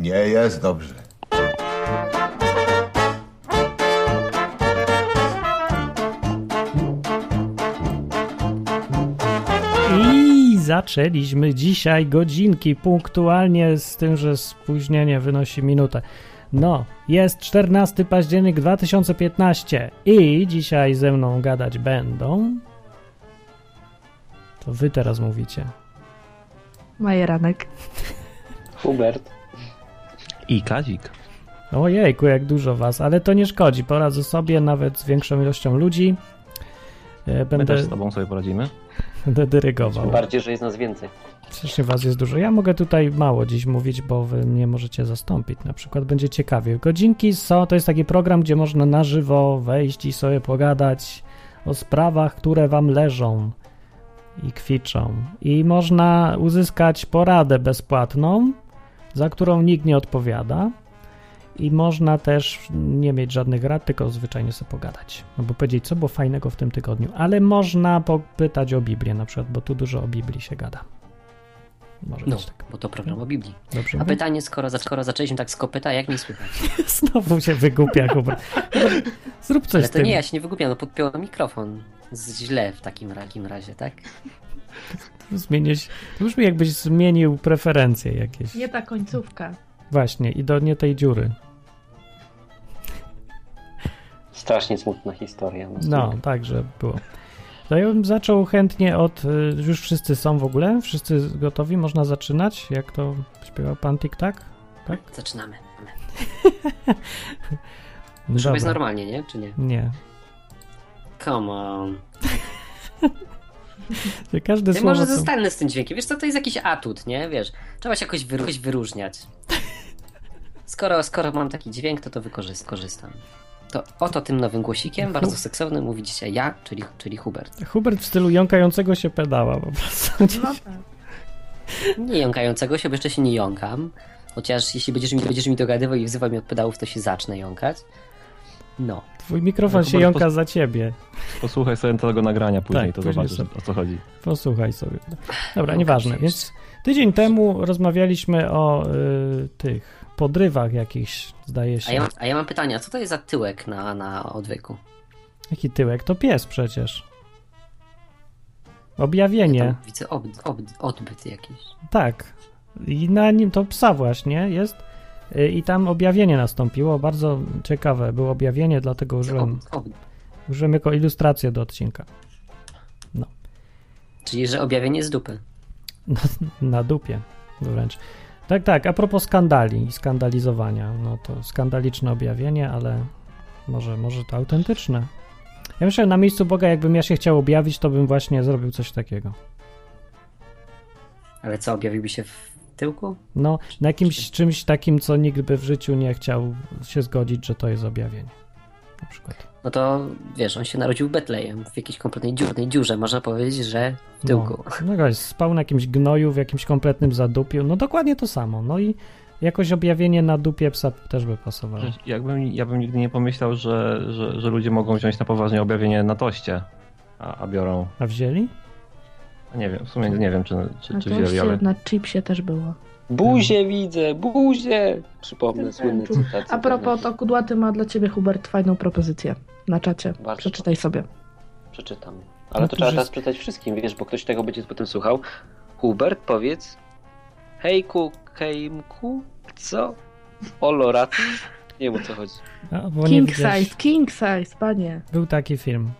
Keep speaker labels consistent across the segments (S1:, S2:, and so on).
S1: Nie jest dobrze.
S2: I zaczęliśmy dzisiaj godzinki punktualnie, z tym, że spóźnienie wynosi minutę. No, jest 14 październik 2015 i dzisiaj ze mną gadać będą. To wy teraz mówicie.
S3: Majeranek.
S4: Hubert.
S5: I Kazik.
S2: Ojejku, jak dużo was, ale to nie szkodzi. Poradzę sobie nawet z większą ilością ludzi. E,
S5: My
S2: Będę,
S5: też z tobą sobie poradzimy.
S2: będę dyrygował.
S4: Tym bardziej, że jest nas więcej.
S2: Strasznie was jest dużo. Ja mogę tutaj mało dziś mówić, bo wy mnie możecie zastąpić. Na przykład będzie ciekawie. Godzinki są, to jest taki program, gdzie można na żywo wejść i sobie pogadać o sprawach, które wam leżą i kwiczą. I można uzyskać poradę bezpłatną, za którą nikt nie odpowiada. I można też nie mieć żadnych rad, tylko zwyczajnie sobie pogadać. Albo powiedzieć, co było fajnego w tym tygodniu. Ale można popytać o Biblię na przykład, bo tu dużo o Biblii się gada. Może
S6: No,
S2: być tak.
S6: bo to program o Biblii. A
S2: Dobrze. mówię?
S6: pytanie, skoro, skoro zaczęliśmy tak z kopyta, jak mi słychać?
S2: Znowu się wygłupia, Kuba. Zrób coś
S6: Ale
S2: z
S6: to
S2: tym.
S6: nie, ja się nie wygłupiam, no podpiąłem mikrofon. Z źle w takim, takim razie, tak?
S2: Zmienię się. To brzmi jakbyś zmienił preferencje jakieś.
S3: Nie ta końcówka.
S2: Właśnie, i do nie tej dziury.
S4: Strasznie smutna historia. No,
S2: No, także było. To ja bym zaczął chętnie od. y, Już wszyscy są w ogóle? Wszyscy gotowi? Można zaczynać? Jak to śpiewał pan Tik-Tak? Tak?
S6: Zaczynamy. Chyba jest
S2: No Dobra.
S6: normalnie, nie? Czy nie?
S2: Nie.
S6: Come on.
S2: Że Każde
S6: Ty
S2: słowo.
S6: może
S2: co-
S6: zostanę z tym dźwiękiem. Wiesz co, to jest jakiś atut, nie? Wiesz, trzeba się jakoś, wyru- jakoś wyróżniać. Skoro, skoro mam taki dźwięk, to to wykorzystam. To oto tym nowym głosikiem, bardzo seksownym, mówi dzisiaj ja, czyli, czyli Hubert.
S2: Hubert w stylu jąkającego się pedała po prostu.
S3: No tak.
S6: Nie jąkającego się, bo jeszcze się nie jąkam. Chociaż jeśli będziesz mi, będziesz mi dogadywał i wzywał mnie od pedałów, to się zacznę jąkać. No.
S2: Twój mikrofon
S5: Ale
S2: się
S5: Hubert
S2: jąka
S5: pos-
S2: za ciebie.
S5: Posłuchaj sobie tego nagrania później,
S2: Tak,
S5: to
S2: później
S5: zobaczysz
S2: sobie.
S5: o co chodzi.
S2: Posłuchaj sobie. Dobra,
S6: Jąkam
S2: nieważne.
S6: się
S2: Więc tydzień temu rozmawialiśmy o y, tych podrywach jakichś, zdaje się.
S6: A ja, a ja mam pytanie, a co to jest za tyłek na, na odwyku?
S2: Jaki tyłek? To pies przecież. Objawienie.
S6: Tam widzę ob, ob, odbyt jakiś.
S2: Tak. I na nim to psa właśnie jest. Y, I tam objawienie nastąpiło. Bardzo ciekawe było objawienie, dlatego
S6: Ob,
S2: użyłem,
S6: ob,
S2: użyłem jako ilustrację do odcinka.
S6: czyli, że objawienie z dupy.
S2: Na dupie wręcz. Tak, tak. A propos skandali i skandalizowania. No to skandaliczne objawienie, ale może, może to autentyczne. Ja myślę, że na miejscu Boga, jakbym ja się chciał objawić, to bym właśnie zrobił coś takiego.
S6: Ale co, objawiłby się w tyłku?
S2: No, na jakimś czymś takim, co nikt by w życiu nie chciał się zgodzić, że to jest objawienie. Na przykład.
S6: No to wiesz, on się narodził w Betlejem, w jakiejś kompletnej dziurnej dziurze. Można powiedzieć, że w tyłku.
S2: No, no gość spał na jakimś gnoju, w jakimś kompletnym zadupiu. No dokładnie to samo. No i jakoś objawienie na dupie psa też by pasowało.
S5: Jakbym, ja bym nigdy nie pomyślał, że, że, że ludzie mogą wziąć na poważnie objawienie na toście, a, a biorą.
S2: A wzięli?
S5: Nie wiem, w sumie nie wiem, czy, czy,
S3: Na
S5: czy wzięli,
S3: toście,
S5: ale
S3: na chipsie też było.
S4: Buzie widzę, buzie! Przypomnę słynny cytat.
S3: A propos, to kudłaty ma dla ciebie, Hubert, fajną propozycję na czacie.
S4: Bardzo.
S3: Przeczytaj sobie.
S4: Przeczytam.
S2: No
S4: Ale to
S2: to
S4: trzeba
S2: że-
S4: teraz przeczytać wszystkim, wiesz, bo ktoś tego będzie potem słuchał. Hubert, powiedz. Hejku, kejmku, co? Olorat? Nie wiem o co chodzi.
S2: A, bo nie
S3: King
S2: widziałeś.
S3: size, king size, panie.
S2: Był taki film.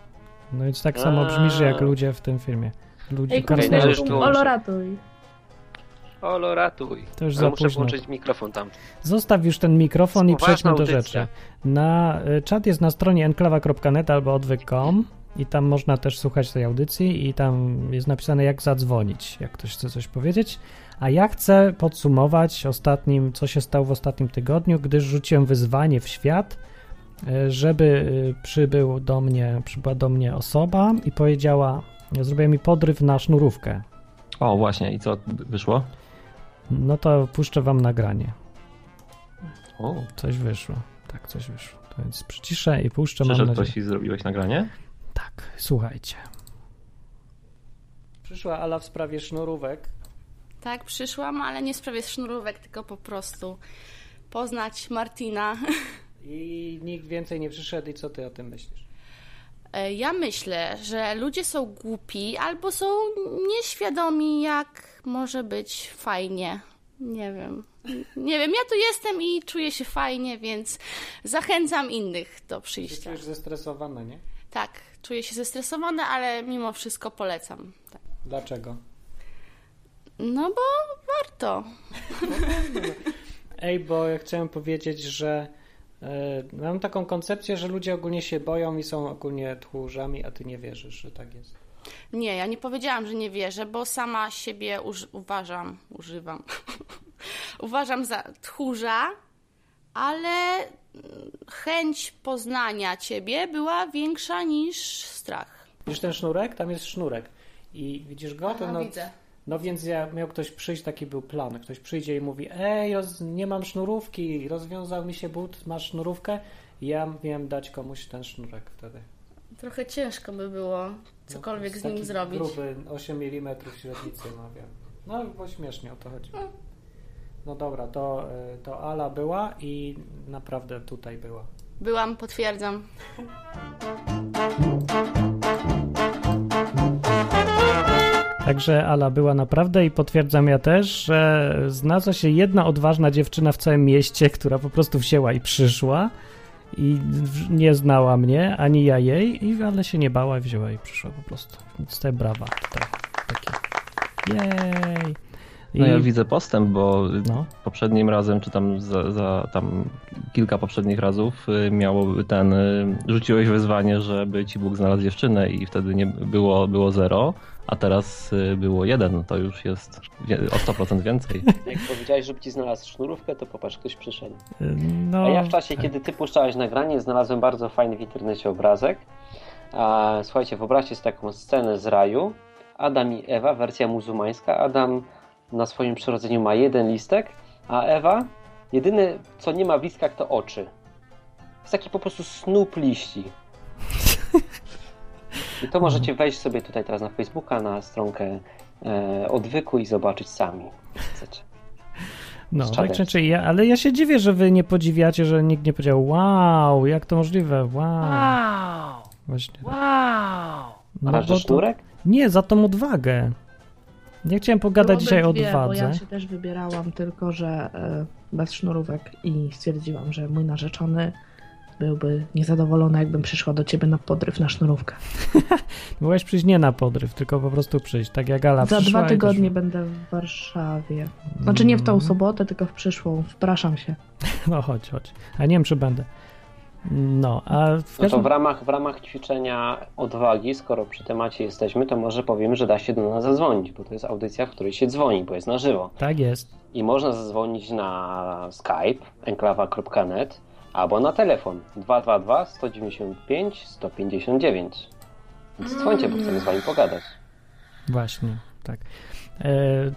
S2: No więc tak samo
S4: A.
S2: brzmisz jak ludzie w tym filmie. Ludzie
S3: Ej,
S4: Okej,
S2: krasnoludki.
S4: należy
S3: kurde,
S4: tu-
S3: oloratuj.
S4: Oloratuj.
S2: To już
S4: Ale
S2: za
S4: muszę
S2: późno.
S4: włączyć mikrofon tam.
S2: Zostaw już ten mikrofon i
S4: Poważna
S2: przejdźmy do
S4: audycja.
S2: rzeczy. Na y, czat jest na stronie enklawa.net albo odwyk.com i tam można też słuchać tej audycji i tam jest napisane jak zadzwonić, jak ktoś chce coś powiedzieć. A ja chcę podsumować ostatnim, co się stało w ostatnim tygodniu, gdyż rzuciłem wyzwanie w świat, y, żeby y, przybył do mnie, przybyła do mnie osoba i powiedziała, zrobiła mi podryw na sznurówkę.
S5: O, właśnie, i co wyszło?
S2: No to puszczę wam nagranie.
S5: O,
S2: Coś wyszło. Tak, coś wyszło. To więc przyciszę i puszczę, mam
S5: przyszedł
S2: nadzieję.
S5: ktoś i zrobiłeś nagranie?
S2: Tak, słuchajcie. Przyszła Ala w sprawie sznurówek
S1: Tak, przyszłam, ale nie w sprawie sznurówek, tylko po prostu poznać Martina.
S2: I nikt więcej nie przyszedł i co ty o tym myślisz?
S1: E, Ja myślę, że ludzie są głupi albo są nieświadomi, jak może być fajnie. Nie wiem. Nie wiem, ja tu jestem i czuję się fajnie, więc zachęcam innych do
S2: Jesteś
S1: przyjścia.
S2: już zestresowana, nie?
S1: Tak, czuję się zestresowana, ale mimo wszystko polecam. Tak.
S2: Dlaczego?
S1: No bo warto.
S2: Ej, bo ja chciałem powiedzieć, że e, mam taką koncepcję, że ludzie ogólnie się boją i są ogólnie tchórzami, a ty nie wierzysz, że tak jest.
S1: Nie, ja nie powiedziałam, że nie wierzę, bo sama siebie uż- uważam, używam. uważam za tchórza, ale mm, chęć poznania ciebie była większa niż strach.
S2: Widzisz ten sznurek? Tam jest sznurek. I widzisz go? To no, no więc ja, miał ktoś przyjść, taki był plan. Ktoś przyjdzie i mówi, ej, roz, nie mam sznurówki, rozwiązał mi się but, masz sznurówkę? I ja miałem dać komuś ten sznurek wtedy. No,
S1: Trochę ciężko by było cokolwiek
S2: to
S1: z
S2: jest
S1: nim
S2: taki
S1: zrobić.
S2: Gruby, 8 mm średnicy, no wiem. No bo śmiesznie o to chodzi.
S1: Mm.
S2: No dobra, to, y, to Ala była i naprawdę tutaj była.
S1: Byłam, potwierdzam.
S2: Także Ala była naprawdę i potwierdzam ja też, że znalazła się jedna odważna dziewczyna w całym mieście, która po prostu wzięła i przyszła i w- nie znała mnie, ani ja jej, i, ale się nie bała i wzięła i przyszła po prostu. Więc te brawa tutaj. Takie. Jej!
S5: No ja
S2: I-
S5: widzę postęp, bo
S2: No,
S5: poprzednim razem, czy tam za, za tam kilka poprzednich razów y, miało ten, y, rzuciłeś wezwanie, żeby ci Bóg znalazł dziewczynę i wtedy nie było, było zero, a teraz y, było jeden, to już jest wie- o 100% więcej.
S4: Jak powiedziałeś, żeby ci znalazł sznurówkę, to popatrz, ktoś przyszedł.
S2: y, no.
S4: A ja w czasie, kiedy ty puszczałeś nagranie, znalazłem bardzo fajny w internecie obrazek. A, słuchajcie, wyobraźcie sobie taką scenę z raju. Adam i Ewa, wersja muzułmańska. Adam na swoim przyrodzeniu ma jeden listek, a Ewa jedyne, co nie ma w listkach, to oczy. Jest taki po prostu snób liści. I to możecie wejść sobie tutaj teraz na Facebooka, na stronkę e, odwyku i zobaczyć sami. Chcecie.
S2: No,
S4: Z
S2: tak
S4: czadem.
S2: czy inaczej, ja, ale ja się dziwię, że wy nie podziwiacie, że nikt nie powiedział wow, jak to możliwe, wow. Wow! Właśnie. Wow!
S4: A
S2: No,
S4: że
S2: bo to,
S4: sznurek? nie
S2: nie, za tą odwagę. Ja chciałem pogadać
S3: Byłoby
S2: dzisiaj o
S3: dwie, No, Bo
S2: odwadze.
S3: ja się też wybierałam, tylko że e, bez sznurówek i stwierdziłam, że mój narzeczony byłby niezadowolony, jakbym przyszła do ciebie na podryw na sznurówkę.
S2: Byłeś przyjść nie na podryw, tylko po prostu przyjść, tak jak
S3: Za
S2: Ala przyszła
S3: dwa
S2: i Mm.
S3: tygodnie będę w Warszawie. Znaczy nie w tą sobotę, tylko w przyszłą. Wpraszam się.
S2: Już... No chodź, chodź. A nie wiem, czy będę. No, a w
S4: No to
S2: każdym...
S4: w ramach, w ramach ćwiczenia odwagi, skoro przy temacie jesteśmy, to może powiemy, że da się do nas zadzwonić, bo to jest audycja, w której się dzwoni, bo jest na żywo.
S2: Tak jest.
S4: I można zadzwonić na Skype, enklawa.net, albo na telefon 222 195 159. Więc dzwońcie, bo chcemy z wami pogadać.
S2: Właśnie, tak. E,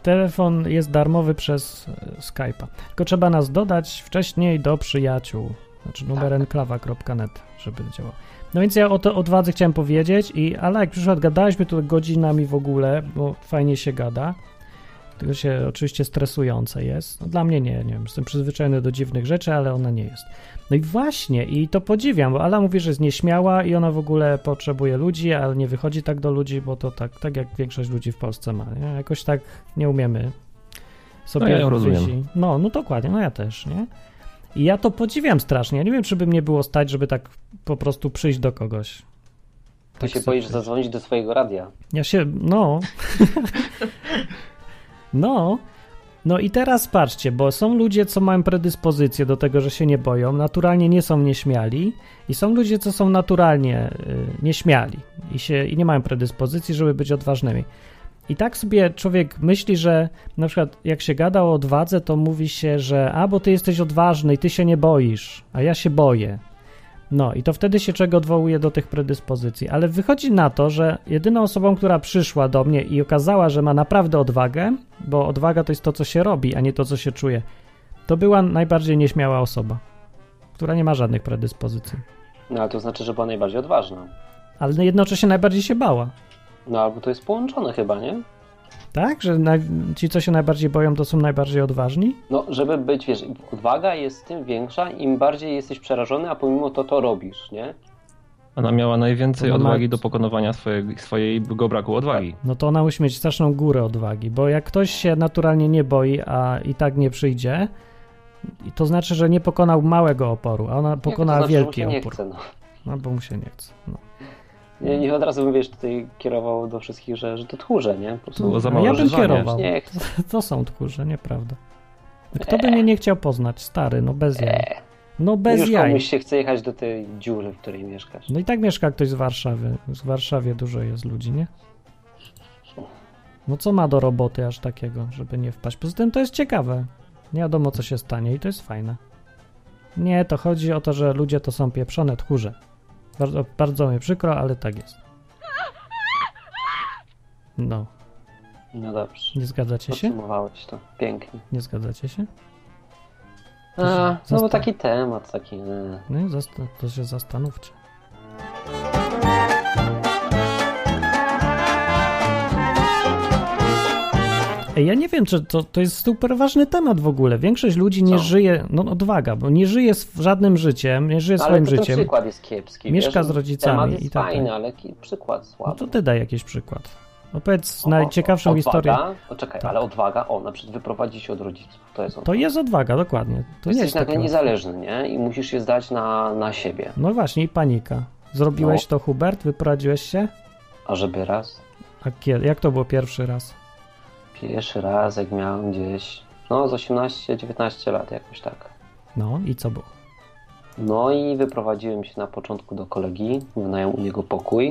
S2: telefon jest darmowy przez e, Skype'a. Tylko trzeba nas dodać wcześniej do przyjaciół. Znaczy numer enklawa.net, żeby działał. No więc ja o to odwadze chciałem powiedzieć i ale jak przyszła, gadałyśmy tu godzinami w ogóle, bo fajnie się gada. Tylko się oczywiście stresujące jest. No, dla mnie nie, nie wiem, jestem przyzwyczajony do dziwnych rzeczy, ale ona nie jest. No i właśnie, i to podziwiam, bo Ala mówi, że jest nieśmiała i ona w ogóle potrzebuje ludzi, ale nie wychodzi tak do ludzi, bo to tak, tak jak większość ludzi w Polsce ma. Nie? Jakoś tak nie umiemy sobie
S5: No, ja ją rozumiem.
S2: wyjść. No, no dokładnie, no ja też, nie? I ja to podziwiam strasznie. Ja nie wiem, czy by mnie było stać, żeby tak po prostu przyjść do kogoś.
S4: To się
S2: sobie
S4: boisz
S2: przyjść.
S4: zadzwonić do swojego radia.
S2: Ja się, no. no. No i teraz patrzcie, bo są ludzie, co mają predyspozycję do tego, że się nie boją, naturalnie nie są nieśmiali i są ludzie, co są naturalnie y, nieśmiali i, się, i nie mają predyspozycji, żeby być odważnymi. I tak sobie człowiek myśli, że na przykład jak się gada o odwadze, to mówi się, że a, bo ty jesteś odważny i ty się nie boisz, a ja się boję. No i to wtedy się czego odwołuje do tych predyspozycji, ale wychodzi na to, że jedyną osobą, która przyszła do mnie i okazała, że ma naprawdę odwagę, bo odwaga to jest to, co się robi, a nie to, co się czuje, to była najbardziej nieśmiała osoba, która nie ma żadnych predyspozycji,
S4: No ale to znaczy, że była najbardziej odważna.
S2: ale jednocześnie najbardziej się bała.
S4: No albo to jest połączone chyba, nie?
S2: Tak? Że naj- ci, co się najbardziej boją, to są najbardziej odważni?
S4: No, żeby być, wiesz, odwaga jest tym większa, im bardziej jesteś przerażony, a pomimo to to robisz, nie?
S5: Ona miała najwięcej
S2: Ona ma-
S5: odwagi do pokonowania swojego, swojego braku odwagi.
S2: No to ona musi mieć straszną górę odwagi, bo jak ktoś się naturalnie nie boi, a i tak nie przyjdzie, i to znaczy, że nie pokonał małego oporu, a ona pokonała
S4: to znaczy, że mu
S2: wielki
S4: się nie
S2: opór.
S4: Chce, no.
S2: No bo mu się nie chce. No.
S4: nie, nie od razu bym, wiesz, tutaj kierował do wszystkich, że, że to tchórze, nie? Po prostu
S5: Było za
S2: No,
S5: mało
S2: ja bym
S5: żyzania.
S2: kierował.
S4: nie chcę.
S2: To są tchórze, nieprawda. Kto by mnie nie chciał poznać? Stary, no bez jaj. No bez
S4: Eee. Już
S2: jaj.
S4: komuś się chce jechać do tej dziury, w której mieszkasz.
S2: No i tak mieszka ktoś z Warszawy. W Warszawie dużo jest ludzi, nie? No co ma do roboty aż takiego, żeby nie wpaść? Poza tym to jest ciekawe. Nie wiadomo, co się stanie i to jest fajne. Nie, to chodzi o to, że ludzie to są pieprzone tchórze. Bardzo, bardzo mi przykro, ale tak jest. No,
S4: No dobrze.
S2: nie zgadzacie się?
S4: Podsumowałeś to. Pięknie.
S2: Nie zgadzacie się? To się
S4: A, no
S2: zastan-
S4: bo taki temat, taki... e.
S2: No, i zasta- to się zastanówcie. Ej, Ja nie wiem, czy to, to jest super ważny temat w ogóle. Większość ludzi nie
S4: Co?
S2: żyje, no odwaga, bo nie żyje z żadnym życiem, nie żyje
S4: No, ale
S2: swoim
S4: to ten
S2: życiem.
S4: przykład jest kiepski.
S2: Mieszka
S4: wiesz?
S2: z rodzicami
S4: Temat jest
S2: i tak
S4: fajny,
S2: dalej.
S4: ale ki- przykład słaby.
S2: No to ty daj jakiś przykład. Opowiedz
S4: O,
S2: najciekawszą
S4: odwaga.
S2: historię.
S4: O, czekaj,
S2: Tak.
S4: ale odwaga, o, na przykład wyprowadzić się od rodziców, to jest odwaga.
S2: To jest odwaga, dokładnie. To nie
S4: Jesteś
S2: jest
S4: nagle
S2: takie.
S4: niezależny, nie? I musisz się zdać na, na siebie.
S2: No właśnie, i panika. Zrobiłeś
S4: No.
S2: to, Hubert? Wyprowadziłeś się?
S4: A żeby raz,
S2: A kiedy? Jak to było pierwszy raz?
S4: pierwszy raz, jak miałem gdzieś, no z 18-19 lat, jakoś tak.
S2: No i co było?
S4: No i wyprowadziłem się na początku do kolegi, wynająłem u niego pokój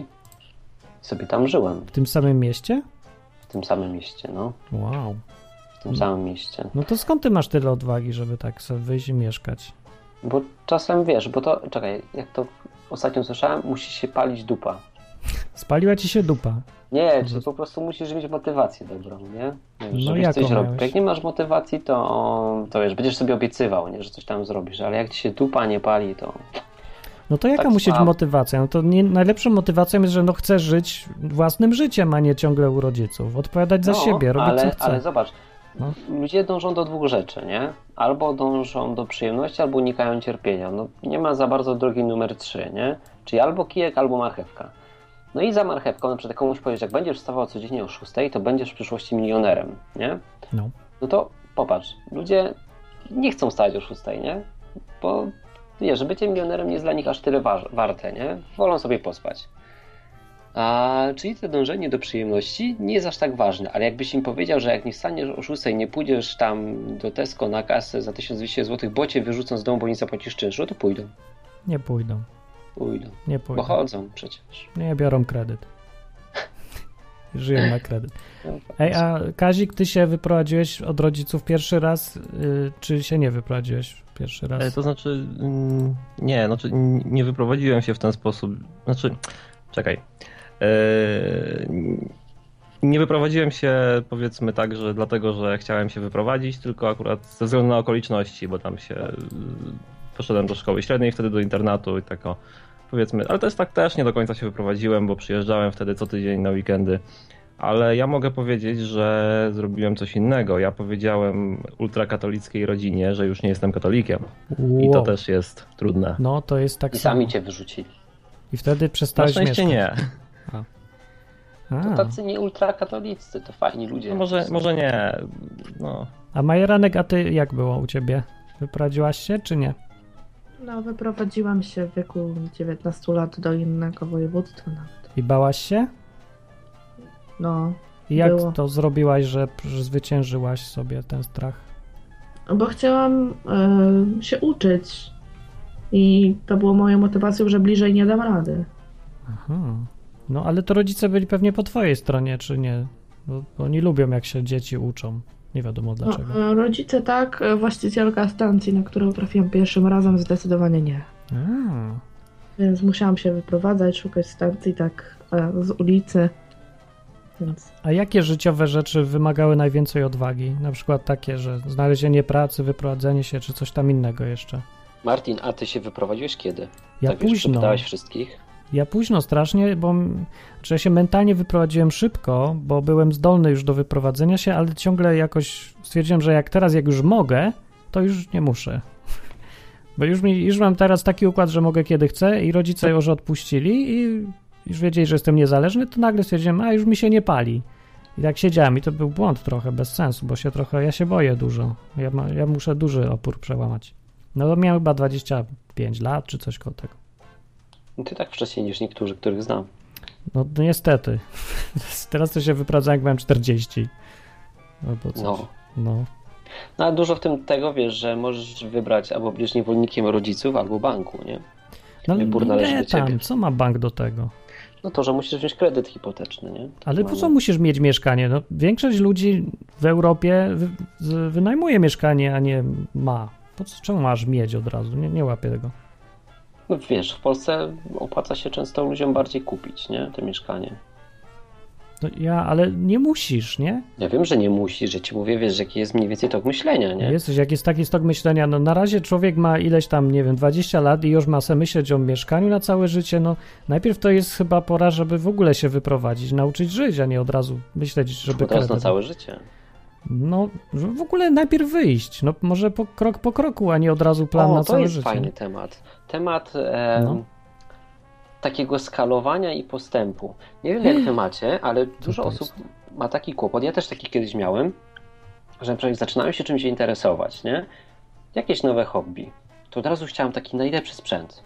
S4: i sobie tam żyłem,
S2: W tym samym mieście?
S4: w tym samym mieście, no,
S2: Wow.
S4: w tym
S2: Mm.
S4: samym mieście.
S2: No to skąd ty masz tyle odwagi, żeby tak sobie wyjść i mieszkać?
S4: Bo czasem, wiesz, bo to, czekaj, jak to ostatnio słyszałem, musi się palić dupa.
S2: Spaliła ci się dupa.
S4: Nie, czy po prostu musisz mieć motywację dobrą, nie? Wiesz,
S2: Mhm. No
S4: Żebyś
S2: jaką
S4: coś robił.
S2: miałeś?
S4: Jak nie masz motywacji, to, to wiesz, będziesz sobie obiecywał, nie, że coś tam zrobisz, ale jak ci się dupa nie pali, to
S2: No to jaka
S4: Tak
S2: musi być
S4: słabo.
S2: motywacja? No to nie, najlepszą motywacją jest, że no chcę żyć własnym życiem, a nie ciągle u rodziców. Odpowiadać
S4: no,
S2: za siebie, robić
S4: ale,
S2: co chce.
S4: ale zobacz,
S2: No.
S4: ludzie dążą do dwóch rzeczy, nie? Albo dążą do przyjemności, albo unikają cierpienia. No nie ma za bardzo drogi numer trzy, nie? Czyli albo kijek, albo marchewka. No i za marchewką, na przykład komuś powiedzieć, jak będziesz wstawał codziennie o 6, to będziesz w przyszłości milionerem, nie?
S2: No.
S4: No to popatrz, ludzie nie chcą wstawać o 6, nie? Bo wiesz, bycie milionerem nie jest dla nich aż tyle wa- warte, nie? Wolą sobie pospać. A, czyli to dążenie do przyjemności nie jest aż tak ważne, ale jakbyś im powiedział, że jak nie wstaniesz o 6, nie pójdziesz tam do Tesco na kasę za 1200 zł, bo cię wyrzucą z domu, bo nie zapłacisz czynszu, to pójdą.
S2: Nie pójdą,
S4: Pójdą.
S2: nie
S4: Bo
S2: pójdą.
S4: chodzą przecież.
S2: Nie biorą kredyt. Żyją na kredyt.
S4: No,
S2: Ej, a Kazik, ty się wyprowadziłeś od rodziców pierwszy raz, y, czy się nie wyprowadziłeś pierwszy
S5: E,
S2: raz?
S5: To znaczy, mm, nie, znaczy n- nie wyprowadziłem się w ten sposób. Znaczy, czekaj. E, n- Nie wyprowadziłem się, powiedzmy tak, że dlatego, że chciałem się wyprowadzić, tylko akurat ze względu na okoliczności, bo tam się y, poszedłem do szkoły średniej, wtedy do internatu i tak o, powiedzmy, ale też tak też nie do końca się wyprowadziłem, bo przyjeżdżałem wtedy co tydzień na weekendy. Ale ja mogę powiedzieć, że zrobiłem coś innego. Ja powiedziałem ultrakatolickiej rodzinie, że już nie jestem katolikiem. I to
S2: Wow.
S5: też jest trudne.
S2: No to jest tak
S4: I
S2: samo.
S4: sami cię wyrzucili.
S2: I wtedy
S5: Na
S2: przestałeś
S5: szczęście
S2: mieszkać.
S5: nie. tak.
S4: To
S2: A,
S4: tacy nie ultrakatolicy, to fajni ludzie.
S5: No może, może nie. No,
S2: a Majeranek, a ty jak było u ciebie? Wyprowadziłaś się, czy nie?
S3: No, wyprowadziłam się w wieku 19 lat do innego województwa nawet.
S2: I bałaś się?
S3: No,
S2: I jak
S3: Było.
S2: to zrobiłaś, że p- że zwyciężyłaś sobie ten strach?
S3: bo chciałam e, się uczyć. I to było moją motywacją, że bliżej nie dam rady.
S2: Aha. No ale to rodzice byli pewnie po twojej stronie, czy nie? Bo bo oni lubią, jak się dzieci uczą. Nie wiadomo
S3: No,
S2: dlaczego.
S3: e, rodzice tak, e, właścicielka stacji, na którą trafiłam pierwszym razem, zdecydowanie nie.
S2: A,
S3: Więc musiałam się wyprowadzać, szukać stacji tak e, z ulicy. Więc
S2: a jakie życiowe rzeczy wymagały najwięcej odwagi? Na przykład takie, że znalezienie pracy, wyprowadzenie się, czy coś tam innego jeszcze.
S4: Martin, a ty się wyprowadziłeś kiedy?
S2: Ja
S4: tak już
S2: późno.
S4: przepytałeś wszystkich?
S2: Ja późno strasznie, bo znaczy ja się mentalnie wyprowadziłem szybko, bo byłem zdolny już do wyprowadzenia się, ale ciągle jakoś stwierdziłem, że jak teraz, jak już mogę, to już nie muszę. Bo już, mi, już mam teraz taki układ, że mogę kiedy chcę i rodzice już odpuścili i już wiedzieli, że jestem niezależny, to nagle stwierdziłem, a już mi się nie pali. I tak siedziałem i to był błąd trochę, bez sensu, bo się trochę, ja się boję dużo. Ja, ma, ja muszę duży opór przełamać. No to miałem chyba 25 lat, czy coś koło tego.
S4: No Ty tak wcześniej niż niektórzy, których znam.
S2: No niestety. Teraz to się wyprowadzałem, jak miałem 40. Albo coś.
S4: No.
S2: no.
S4: No ale dużo w tym tego wiesz, że możesz wybrać albo być niewolnikiem rodziców, albo banku, nie?
S2: No,
S4: Wybór należy
S2: nie
S4: do ciebie.
S2: tam, co ma bank do tego?
S4: No to, że musisz wziąć kredyt hipoteczny, nie? Tak
S2: Ale po
S4: mamy.
S2: co musisz mieć mieszkanie? No, większość ludzi w Europie wy, z- wynajmuje mieszkanie, a nie ma. Po co, czemu masz mieć od razu? Nie, nie łapię tego.
S4: No wiesz, w Polsce opłaca się często ludziom bardziej kupić, nie? Te mieszkanie.
S2: No, ja, ale nie musisz, nie?
S4: Ja wiem, że nie musisz, że ci mówię, wiesz, jaki jest mniej więcej tok myślenia, nie?
S2: Jesteś, jak jest taki stok myślenia, no na razie człowiek ma ileś tam, nie wiem, 20 lat i już ma se myśleć o mieszkaniu na całe życie, no najpierw to jest chyba pora, żeby w ogóle się wyprowadzić, nauczyć żyć, a nie od razu myśleć, żeby
S4: Bo teraz na
S2: kredyt-
S4: całe życie.
S2: No, żeby w ogóle najpierw wyjść, no może po, krok po kroku, a nie od razu plan
S4: o,
S2: na
S4: to
S2: całe
S4: jest
S2: życie.
S4: fajny temat. Temat em,
S2: No.
S4: takiego skalowania i postępu. Nie wiem, jak wy macie, ale dużo
S2: to
S4: osób ma taki kłopot. Ja też taki kiedyś miałem, że na przykład zaczynałem się czymś interesować, nie? Jakieś nowe hobby. To od razu chciałem taki najlepszy sprzęt.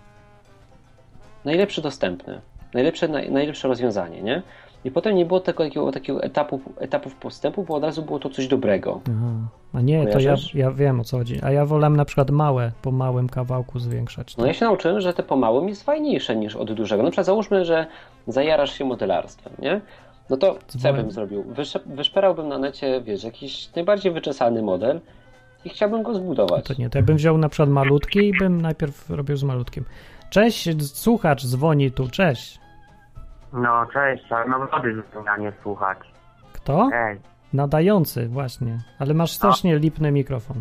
S4: Najlepszy dostępny. Najlepsze, naj, najlepsze rozwiązanie, nie? I potem nie było tego takiego, takiego etapu, etapów postępu, bo od razu było to coś dobrego.
S2: Aha. A nie, to ja,
S4: Kojarzysz?
S2: ja wiem o co chodzi. A ja wolę na przykład małe, po małym kawałku zwiększać.
S4: No ja się nauczyłem, że te po małym jest fajniejsze niż od dużego. Na przykład załóżmy, że zajarasz się modelarstwem, nie? No to co ja
S2: Dzwoń.
S4: bym zrobił? Wysze- wyszperałbym na necie, wiesz, jakiś najbardziej wyczesany model i chciałbym go zbudować.
S2: To nie, to ja bym wziął na przykład malutki i bym najpierw robił z malutkim. Cześć, słuchacz dzwoni tu, cześć.
S7: No cześć, ale mam wody zupełnie słuchać.
S2: Kto?
S7: Ej.
S2: Nadający, właśnie. Ale masz strasznie lipny mikrofon.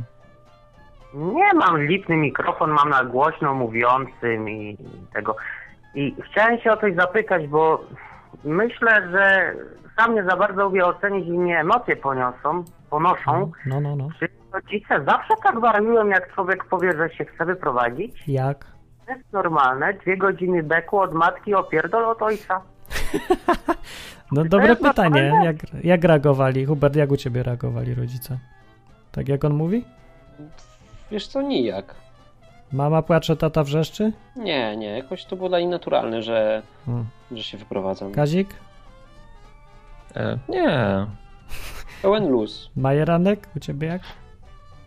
S7: Nie mam lipny mikrofon, mam na głośno mówiącym i tego. I chciałem się o coś zapytać, bo myślę, że sam nie za bardzo lubię ocenić i mnie emocje poniosą,
S4: Mhm.
S7: ponoszą.
S2: No, no, no.
S7: Czy rodzice zawsze tak wariują, jak człowiek powie, że się chce wyprowadzić?
S2: Jak?
S7: To jest normalne, dwie godziny beku od matki opierdol od ojca.
S2: No dobre
S7: jest
S2: pytanie.
S7: normalne?
S2: Jak, jak reagowali? Hubert, jak u ciebie reagowali rodzice? Tak jak on mówi?
S4: Wiesz co, nijak.
S2: Mama płacze, tata wrzeszczy?
S4: Nie, nie, jakoś to było dla nich naturalne, że,
S2: O.
S4: że się wyprowadzam.
S2: Hmm. Kazik?
S5: E, nie.
S4: Pełen luz.
S2: Majeranek? U ciebie jak?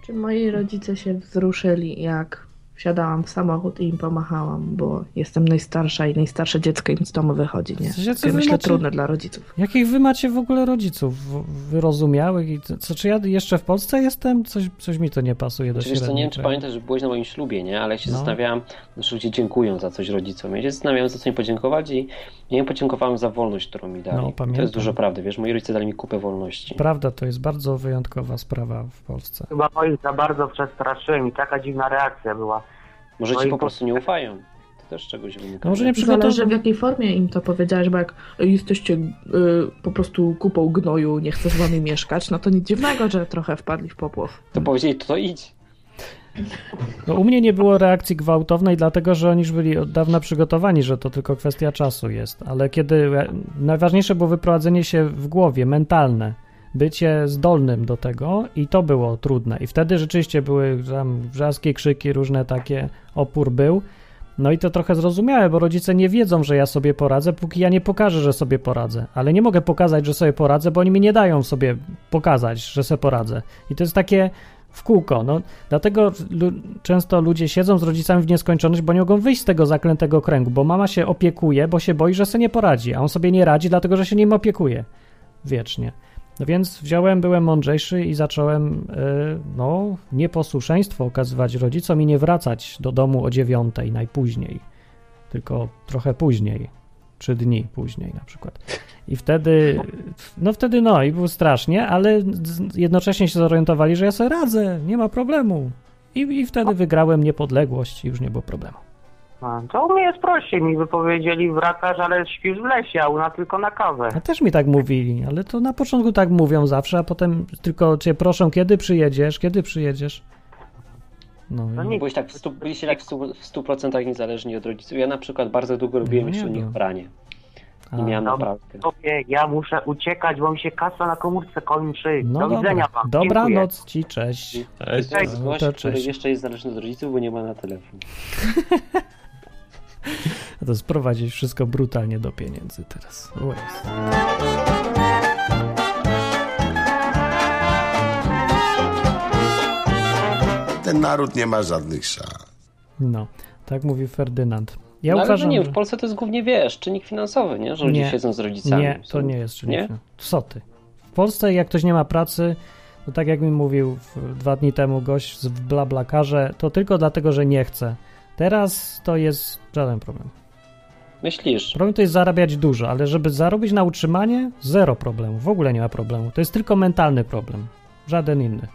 S3: Czy moi rodzice się wzruszyli, jak wsiadałam w samochód i im pomachałam, bo jestem najstarsza i najstarsze dziecko im z domu wychodzi, nie?
S2: W sensie, co
S3: Takie
S2: wy
S3: myślę
S2: macie-
S3: trudne dla rodziców.
S2: Jakich wy macie w ogóle rodziców w- wyrozumiałych? I co, co, czy ja jeszcze w Polsce jestem? Coś, coś mi to nie pasuje do
S4: Znaczy, wiesz co, nie wiem, czy pamiętasz, że byłeś na moim ślubie, nie? Ale ja się
S2: No.
S4: zastanawiałem, znaczy ludzie dziękują za coś rodzicom. Ja się zastanawiałem, za co im podziękować i ja im podziękowałem za wolność, którą mi dali.
S2: No,
S4: to
S2: pamiętam.
S4: jest dużo prawdy, wiesz, moi rodzice dali mi kupę wolności.
S2: Prawda, to jest bardzo wyjątkowa sprawa w Polsce.
S7: Chyba moich za bardzo przestraszyłem i taka dziwna reakcja była.
S4: Może
S7: No
S4: ci
S7: i
S4: po
S7: po-
S4: prostu nie ufają. To też czegoś wynika.
S2: No może nie przygotow...
S3: Zależy w jakiej formie im to powiedziałeś, bo jak y, jesteście y, po prostu kupą gnoju, nie chcę z wami mieszkać, no to nic dziwnego, że trochę wpadli w popłoch.
S2: Hmm.
S4: To powiedzieli, to idź.
S2: no, U mnie nie było reakcji gwałtownej, dlatego że oni już byli od dawna przygotowani, że to tylko kwestia czasu jest. Ale kiedy. e, Najważniejsze było wyprowadzenie się w głowie, mentalne. Bycie zdolnym do tego i to było trudne. I wtedy rzeczywiście były tam wrzaski, krzyki, różne takie, opór był. No i to trochę zrozumiałe, bo rodzice nie wiedzą, że ja sobie poradzę, póki ja nie pokażę, że sobie poradzę. Ale nie mogę pokazać, że sobie poradzę, bo oni mi nie dają sobie pokazać, że sobie poradzę. I to jest takie w kółko. No, dlatego lu- często ludzie siedzą z rodzicami w nieskończoność, bo nie mogą wyjść z tego zaklętego kręgu, bo mama się opiekuje, bo się boi, że sobie nie poradzi, a on sobie nie radzi, dlatego że się nim opiekuje wiecznie. No więc wziąłem, byłem mądrzejszy i zacząłem, y, no, nieposłuszeństwo okazywać rodzicom i nie wracać do domu o dziewiątej najpóźniej, tylko trochę później, trzy dni później na przykład. I wtedy, no wtedy no, i było strasznie, ale z- jednocześnie się zorientowali, że ja sobie radzę, nie ma problemu. I, i wtedy wygrałem niepodległość i już nie było problemu.
S7: A, To u mnie jest prościej, mi wypowiedzieli wracasz, ale śpisz w lesie, a u nas tylko na kawę.
S2: A też mi tak mówili, ale to na początku tak mówią zawsze, a potem tylko cię proszą, kiedy przyjedziesz, kiedy przyjedziesz. No,
S7: No
S2: i-
S7: nie,
S4: Byłeś tak w stu, byliście tak w stu- w 100% niezależni od rodziców. Ja na przykład bardzo długo robiłem
S2: No nie
S4: jeszcze u nich
S2: wiem.
S4: pranie.
S2: a,
S4: I miałem
S7: No.
S4: naprawdę.
S7: Tobie, ja muszę uciekać, bo mi się kasa na komórce kończy.
S2: no
S7: Do
S2: dobra. no-
S7: widzenia wam. Dziękuję.
S2: Dobranoc ci, cześć.
S5: Cześć.
S4: To jest gość,
S2: to
S4: który
S2: cześć.
S4: jeszcze jest zależny od rodziców, bo nie ma na telefon.
S2: A to sprowadzić wszystko brutalnie do pieniędzy teraz. O Jezu.
S8: Ten naród nie ma żadnych szans.
S2: No, tak mówi Ferdynand. Ja
S4: no, ale
S2: uważam,
S4: że nie,
S2: że...
S4: w Polsce to jest głównie, wiesz, czynnik finansowy, nie? Że ludzie
S2: Nie.
S4: siedzą z rodzicami.
S2: Nie, to
S4: Są-
S2: nie jest czynnik.
S4: Nie?
S2: Nie? Co ty? W Polsce, jak ktoś nie ma pracy, to tak jak mi mówił w- dwa dni temu gość z blablakarze, to tylko dlatego, że nie chce. Teraz to jest żaden problem.
S4: Myślisz?
S2: Problem to jest zarabiać dużo, ale żeby zarobić na utrzymanie, zero problemu. W ogóle nie ma problemu. To jest tylko mentalny problem. Żaden inny.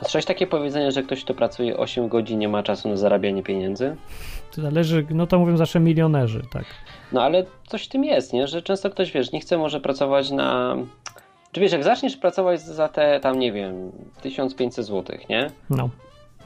S4: A słyszałeś takie powiedzenie, że ktoś, kto pracuje 8 godzin, nie ma czasu na zarabianie pieniędzy?
S2: To zależy, no to mówią zawsze milionerzy, tak.
S4: No ale coś w tym jest, nie? Że często ktoś, wiesz, nie chce może pracować na... Czy wiesz, jak zaczniesz pracować za te, tam nie wiem, 1500 zł, nie?
S2: No.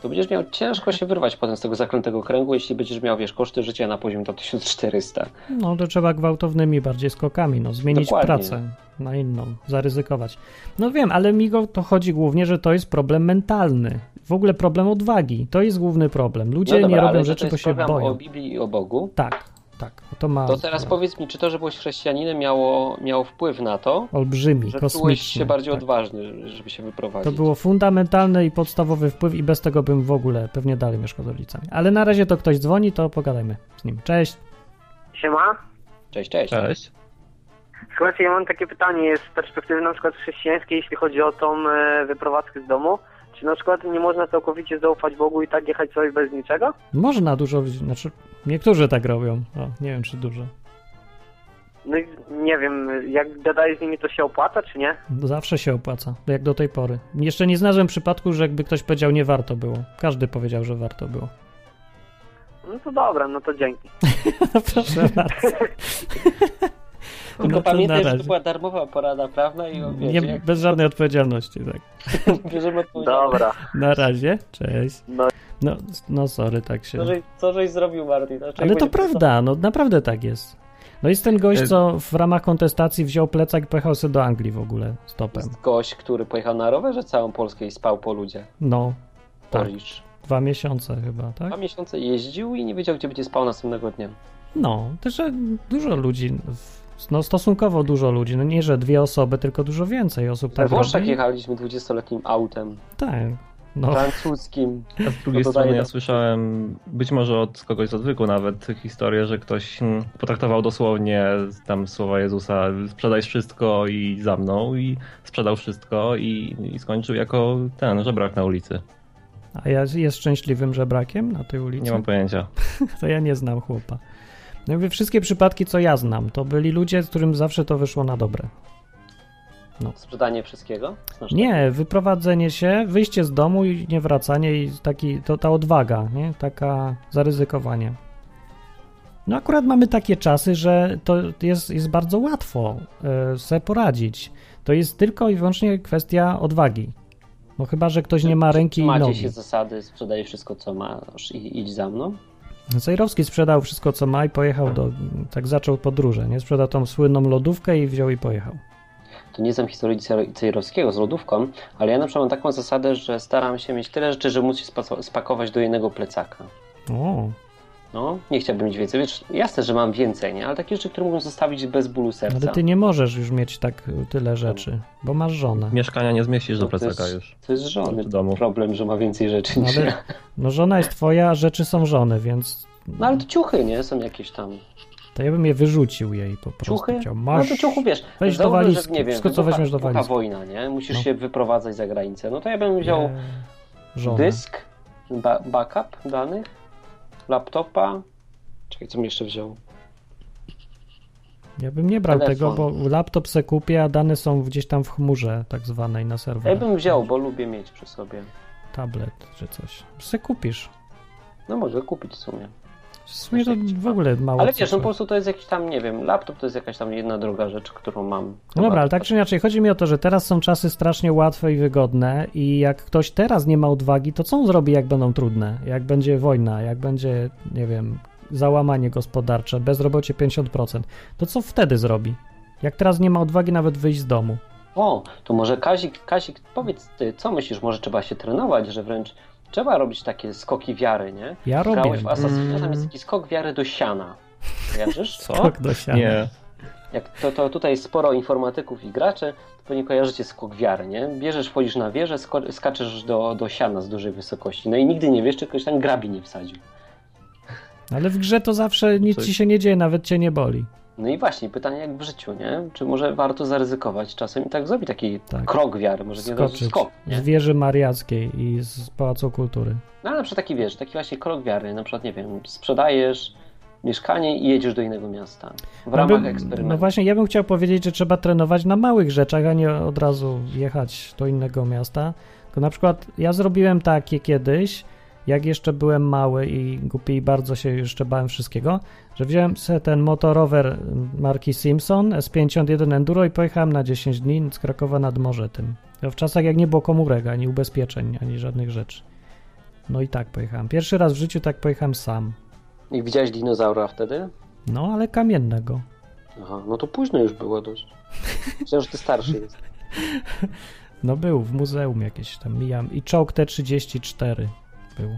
S4: To będziesz miał ciężko się wyrwać potem z tego zaklętego kręgu, jeśli będziesz miał, wiesz, koszty życia na poziom do 1400.
S2: No to trzeba gwałtownymi bardziej skokami, no zmienić
S4: Dokładnie.
S2: pracę na inną, zaryzykować. No wiem, ale mi go to chodzi głównie, że to jest problem mentalny. W ogóle problem odwagi. To jest główny problem. Ludzie
S4: no dobra,
S2: nie
S4: ale
S2: robią
S4: to
S2: rzeczy,
S4: jest
S2: bo się
S4: program
S2: boją.
S4: o Biblii i o Bogu.
S2: Tak, tak. To ma
S4: To teraz powiedz mi, czy to, że byłeś chrześcijaninem miało, miało wpływ na to,
S2: olbrzymi,
S4: że czułeś
S2: kosmiczny.
S4: się bardziej
S2: tak.
S4: odważny, żeby się
S2: To
S4: wyprowadzić?
S2: było fundamentalny i podstawowy wpływ i bez tego bym w ogóle pewnie dalej mieszkał z rodzicami. Ale na razie to ktoś dzwoni, to pogadajmy z nim. Cześć.
S7: Siema.
S4: Cześć, cześć.
S5: Cześć.
S7: Słuchajcie, ja mam takie pytanie z perspektywy na przykład chrześcijańskiej, jeśli chodzi o tą e, wyprowadzkę z domu. Czy na przykład nie można całkowicie zaufać Bogu i tak jechać sobie bez niczego?
S2: Można dużo, znaczy niektórzy tak robią. O, nie wiem czy dużo.
S7: No i nie wiem, jak gadaj z nimi, to się opłaca, czy nie?
S2: No Zawsze się opłaca, jak do tej pory. Jeszcze nie znalazłem przypadku, że jakby ktoś powiedział nie warto było. Każdy powiedział, że warto było.
S7: No to dobra, no to dzięki.
S2: No proszę bardzo.
S4: Tylko
S2: No to
S4: pamiętaj, że
S2: na
S4: to
S2: razie.
S4: była darmowa porada prawna i o, wiecie,
S2: Nie,
S4: jak
S2: bez żadnej odpowiedzialności, tak.
S4: bierzemy odpowiedzialność,
S7: Dobra.
S2: Na razie, cześć.
S7: No.
S2: No, no sorry, tak się...
S4: co żeś, co żeś zrobił, Martin. Znaczy,
S2: Ale
S4: jakbyś-
S2: to prawda, no naprawdę tak jest. No jest ten gość, co w ramach kontestacji wziął plecak i pojechał sobie do Anglii w ogóle stopem.
S4: Jest gość, który pojechał na rowerze całą Polskę i spał po ludziach.
S2: No, Tak.
S4: Policz.
S2: dwa miesiące chyba, tak?
S4: Dwa miesiące jeździł i nie wiedział, gdzie będzie spał następnego dnia.
S2: No, też że dużo ludzi, w- no stosunkowo dużo ludzi, no nie, że dwie osoby, tylko dużo więcej osób
S4: We
S2: tak
S4: Włoszech
S2: robi.
S4: jechaliśmy 20-letnim autem
S2: Tak, no,
S4: francuskim.
S5: A z drugiej
S4: No to
S5: strony
S4: daje
S5: ja
S4: to-
S5: słyszałem, być może od kogoś z odwyku nawet, historię, że ktoś mm, potraktował dosłownie tam słowa Jezusa sprzedaj wszystko i za mną i sprzedał wszystko i, i skończył jako ten żebrak na ulicy.
S2: a ja jest szczęśliwym żebrakiem na tej ulicy?
S5: Nie mam pojęcia.
S2: To ja nie znam chłopa. No mówię, wszystkie przypadki, co ja znam, to byli ludzie, z którym zawsze to wyszło na dobre.
S4: Sprzedanie wszystkiego? Znaczy,
S2: no. Nie, wyprowadzenie się, wyjście z domu i niewracanie i taki, to ta odwaga, nie? Taka zaryzykowanie. No akurat mamy takie czasy, że to jest, jest bardzo łatwo e, se poradzić. To jest tylko i wyłącznie kwestia odwagi. No chyba, że ktoś nie ma ręki i
S4: Macie
S2: nogi.
S4: się zasady, sprzedaj wszystko, co masz i idź za mną.
S2: Zajrowski No sprzedał wszystko, co ma i pojechał do... Tak zaczął podróże, nie? Sprzedał tą słynną lodówkę i wziął i pojechał.
S4: To nie znam historii Cejro- Cejrowskiego z lodówką, ale ja na przykład mam taką zasadę, że staram się mieć tyle rzeczy, że muszę spaco- spakować do jednego plecaka.
S2: O,
S4: No, nie chciałbym mieć więcej. Wiesz, jasne, że mam więcej, nie? Ale takie rzeczy, które mogą zostawić bez bólu serca.
S2: ale ty nie możesz już mieć tak y, tyle rzeczy, bo masz żonę.
S5: Mieszkania nie zmieścisz do
S4: No to jest-
S5: plecaka już.
S4: To jest żony
S5: Do domu.
S4: problem, że ma więcej rzeczy niż
S2: Ale-
S4: ja.
S2: No żona jest twoja, a rzeczy są żony, więc
S4: No ale to ciuchy, nie? Są jakieś tam.
S2: to ja bym je wyrzucił jej po prostu.
S4: Ciuchy?
S2: Chciał,
S4: No
S2: Masz...
S4: to ciuchu, wiesz,
S2: weź do
S4: załóżmy,
S2: walizki, wszystko, co
S4: wybucha-
S2: weźmiesz do
S4: wybucha
S2: walizki.
S4: wojna, nie? Musisz
S2: No.
S4: się wyprowadzać za granicę. No to ja bym wziął
S2: e, żonę.
S4: dysk, ba- backup danych, laptopa. Czekaj, co mi jeszcze wziął?
S2: Ja bym nie brał
S4: telefon.
S2: tego, bo laptop se kupię, a dane są gdzieś tam w chmurze tak zwanej na
S4: Ja
S2: serwerze.
S4: bym wziął, bo lubię mieć przy sobie.
S2: Tablet czy coś. Se kupisz.
S4: No mogę kupić w sumie.
S2: W sumie to w ogóle mało
S4: Ale
S2: co
S4: wiesz, no po
S2: słychać.
S4: prostu to jest jakiś tam, nie wiem, laptop to jest jakaś tam jedna druga rzecz, którą mam.
S2: No dobra,
S4: Chyba-
S2: ale tak czy inaczej, chodzi mi o to, że teraz są czasy strasznie łatwe i wygodne i jak ktoś teraz nie ma odwagi, to co on zrobi, jak będą trudne? Jak będzie wojna, jak będzie, nie wiem, załamanie gospodarcze, bezrobocie 50%, to co wtedy zrobi? Jak teraz nie ma odwagi nawet wyjść z domu?
S4: O, to może Kazik, Kazik, powiedz ty, co myślisz, może trzeba się trenować, że wręcz trzeba robić takie skoki wiary, nie?
S2: Ja robię.
S4: Grałeś w Assassina,
S6: Mm.
S4: tam jest taki skok wiary do siana. Kojarzysz?
S5: Co?
S2: Skok tak do siana.
S5: Nie.
S4: Jak to, to tutaj sporo informatyków i graczy, to pewnie kojarzycie skok wiary, nie? Bierzesz, wchodzisz na wieżę, sko- skaczesz do, do siana z dużej wysokości. No i nigdy nie wiesz, czy ktoś tam grabi nie wsadził.
S2: Ale w grze to zawsze nic
S5: Coś-
S2: ci się nie dzieje, nawet cię nie boli.
S4: No i właśnie, pytanie jak w życiu, nie? Czy może warto zaryzykować czasem i tak zrobić taki
S2: Tak.
S4: krok wiary, może nie zrobić
S2: Skoczyć
S4: no, skok,
S2: z
S4: nie?
S2: wieży mariackiej i z Pałacu Kultury.
S4: No ale na przykład taki, wiesz, taki właśnie krok wiary, na przykład, nie wiem, sprzedajesz mieszkanie i jedziesz do innego miasta w
S2: No
S4: ramach
S2: bym-
S4: eksperymentu.
S2: No właśnie, ja bym chciał powiedzieć, że trzeba trenować na małych rzeczach, a nie od razu jechać do innego miasta. Tylko na przykład ja zrobiłem takie kiedyś, jak jeszcze byłem mały i głupi i bardzo się jeszcze bałem wszystkiego, że wziąłem sobie ten motorower marki Simpson S51 Enduro i pojechałem na 10 dni z Krakowa nad morze tym. To w czasach jak nie było komórek, ani ubezpieczeń, ani żadnych rzeczy. No i tak pojechałem. Pierwszy raz w życiu tak pojechałem sam.
S4: I widziałeś dinozaura wtedy?
S2: No, ale kamiennego.
S4: Aha, no to późno już było dość. Myślałem, że ty starszy jest.
S2: No był, w muzeum jakieś tam mijam. I czołg T-34 był.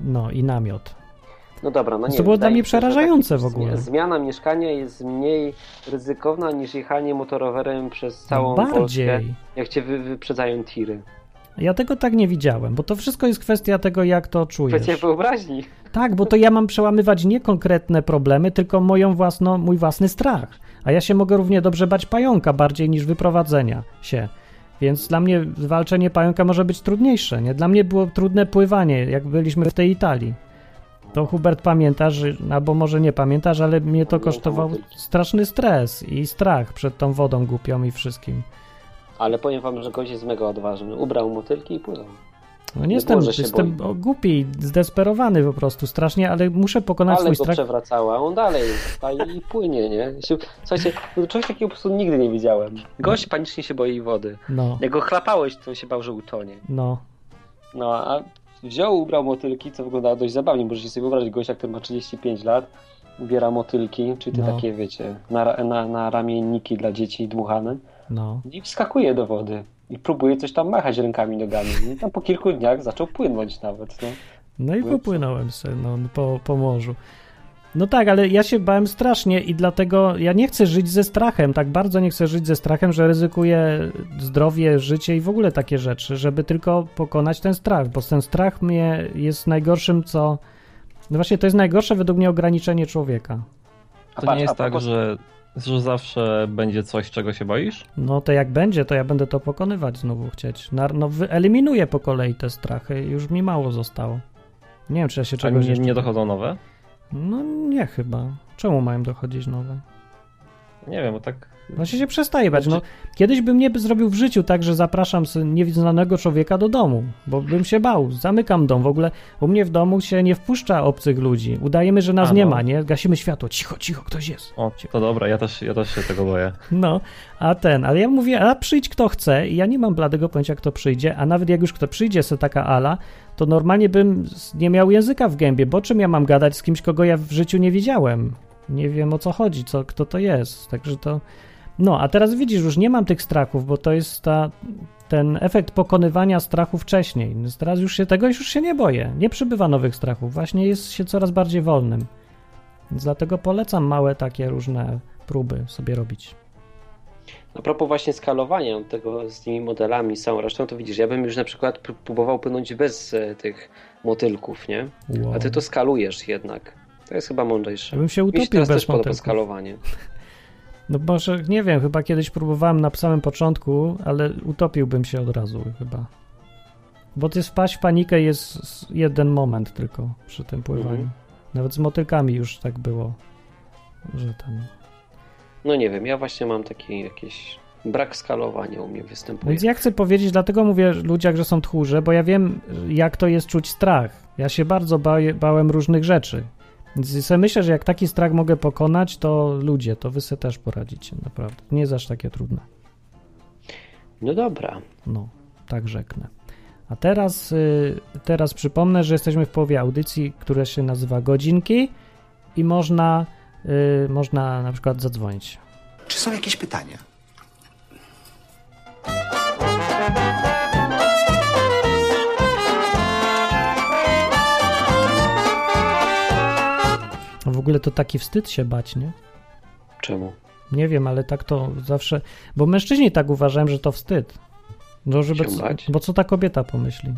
S2: No i namiot.
S4: No dobra, no
S2: To
S4: nie.
S2: było dla
S4: wydaje
S2: mnie
S4: mi się, że
S2: przerażające
S4: takie
S2: w ogóle.
S4: zmi- Zmiana mieszkania jest mniej ryzykowna niż jechanie motorowerem przez całą
S2: no,
S4: Polskę,
S2: bardziej.
S4: jak cię wy, wyprzedzają tiry.
S2: Ja tego tak nie widziałem, bo to wszystko jest kwestia tego, jak to czujesz.
S4: Kwestia wyobraźni.
S2: Tak, bo to ja mam przełamywać nie konkretne problemy, tylko moją własną, mój własny strach. A ja się mogę równie dobrze bać pająka bardziej niż wyprowadzenia się. Więc dla mnie walczenie pająka może być trudniejsze. Nie? Dla mnie było trudne pływanie, jak byliśmy w tej Italii. To Hubert pamiętasz, albo może nie pamiętasz, ale mnie to
S4: Pamiętam
S2: kosztował
S4: o tym.
S2: straszny stres i strach przed tą wodą głupią i wszystkim.
S4: Ale powiem wam, że gość jest mega odważny. Ubrał motylki i płynął.
S2: No nie
S4: Nie
S2: jestem,
S4: może się
S2: jestem
S4: boi.
S2: głupi, zdesperowany po prostu strasznie, ale muszę pokonać
S4: Ale
S2: swój
S4: go
S2: strach.
S4: przewracała, on dalej staje i płynie, nie? Się- Słuchajcie, no czegoś takiego po prostu nigdy nie widziałem. Gość panicznie się boi wody.
S2: No,
S4: Jak go chlapałeś, to się bał, że utonie.
S2: no.
S4: No, a wziął, ubrał motylki, co wyglądało dość zabawnie. Możecie sobie wyobrazić gościa, który ma 35 lat, ubiera motylki, czyli te
S2: No.
S4: takie, wiecie, na, na, na ramienniki dla dzieci dmuchane
S2: No.
S4: i wskakuje do wody. I próbuje coś tam machać rękami, nogami. I tam po kilku dniach zaczął płynąć nawet, no.
S2: No i
S4: Byłem
S2: popłynąłem sobie no, po, po morzu. No tak, ale ja się bałem strasznie i dlatego ja nie chcę żyć ze strachem. Tak bardzo nie chcę żyć ze strachem, że ryzykuję zdrowie, życie i w ogóle takie rzeczy, żeby tylko pokonać ten strach, bo ten strach mnie jest najgorszym, co. No właśnie, to jest najgorsze według mnie ograniczenie człowieka.
S4: A
S5: To
S4: patrz,
S5: nie
S4: a
S5: jest tak,
S4: propos-
S5: że, że zawsze będzie coś, czego się boisz?
S2: No to jak będzie, to ja będę to pokonywać znowu chcieć. Na, no wyeliminuję po kolei te strachy, już mi mało zostało. Nie wiem, czy ja się
S5: A
S2: czegoś
S5: nie,
S2: jeszcze-
S5: nie dochodzą nowe?
S2: No nie chyba. Czemu mają dochodzić nowe?
S5: Nie wiem, bo tak...
S2: Właśnie się przestaje bać. No,
S5: Znaczy-
S2: kiedyś bym nie zrobił w życiu tak, że zapraszam s- nieznanego człowieka do domu, bo bym się bał. Zamykam dom. W ogóle u mnie w domu się nie wpuszcza obcych ludzi. Udajemy, że nas
S5: A,
S2: nie
S5: no.
S2: ma, nie? Gasimy światło. Cicho, cicho, ktoś jest.
S5: O, to dobra, ja też, ja też się tego boję.
S2: No, a ten, ale ja mówię, a przyjdź kto chce i ja nie mam bladego pojęcia, kto przyjdzie, a nawet jak już kto przyjdzie, se taka ala, to normalnie bym s- nie miał języka w gębie, bo czym ja mam gadać z kimś, kogo ja w życiu nie widziałem? Nie wiem o co chodzi, co, kto to jest, także to... No, a teraz widzisz, już nie mam tych strachów, bo to jest ta, ten efekt pokonywania strachu wcześniej. Więc Teraz już się tego już się nie boję. Nie przybywa nowych strachów, właśnie jest się coraz bardziej wolnym. Więc dlatego polecam małe takie różne próby sobie robić.
S4: A propos właśnie skalowania tego z tymi modelami, z całą resztą, to widzisz, ja bym już na przykład pró- próbował płynąć bez e, tych motylków, nie?
S2: Wow.
S4: A ty to skalujesz jednak. To jest chyba mądrzejsze.
S2: Ja bym się
S4: Mi się
S2: utopił
S4: teraz
S2: bez
S4: też podoba
S2: motylków.
S4: skalowanie.
S2: No może, nie wiem, chyba kiedyś próbowałem na samym początku, ale utopiłbym się od razu chyba. Bo ty wpaść w panikę jest s- jeden moment tylko przy tym pływaniu.
S4: Mhm.
S2: Nawet z motylkami już tak było, że tam...
S4: No nie wiem, ja właśnie mam taki jakiś Brak skalowania u mnie występuje.
S2: Więc ja chcę powiedzieć, dlatego mówię ludziach, że są tchórze, bo ja wiem, jak to jest czuć strach. Ja się bardzo baję, bałem różnych rzeczy. Więc sobie myślę, że jak taki strach mogę pokonać, to ludzie, to wy sobie też poradzicie, naprawdę. Nie jest aż takie trudne.
S4: No dobra.
S2: No, tak rzeknę. A teraz, y, teraz przypomnę, że jesteśmy w połowie audycji, która się nazywa Godzinki i można, y, można na przykład zadzwonić.
S9: Czy są jakieś pytania?
S2: W ogóle to taki wstyd się bać, nie?
S4: Czemu?
S2: Nie wiem, ale tak to zawsze. Bo mężczyźni tak uważają, że to wstyd. No, żeby
S4: Się
S2: co,
S4: bać?
S2: bo co ta kobieta pomyśli?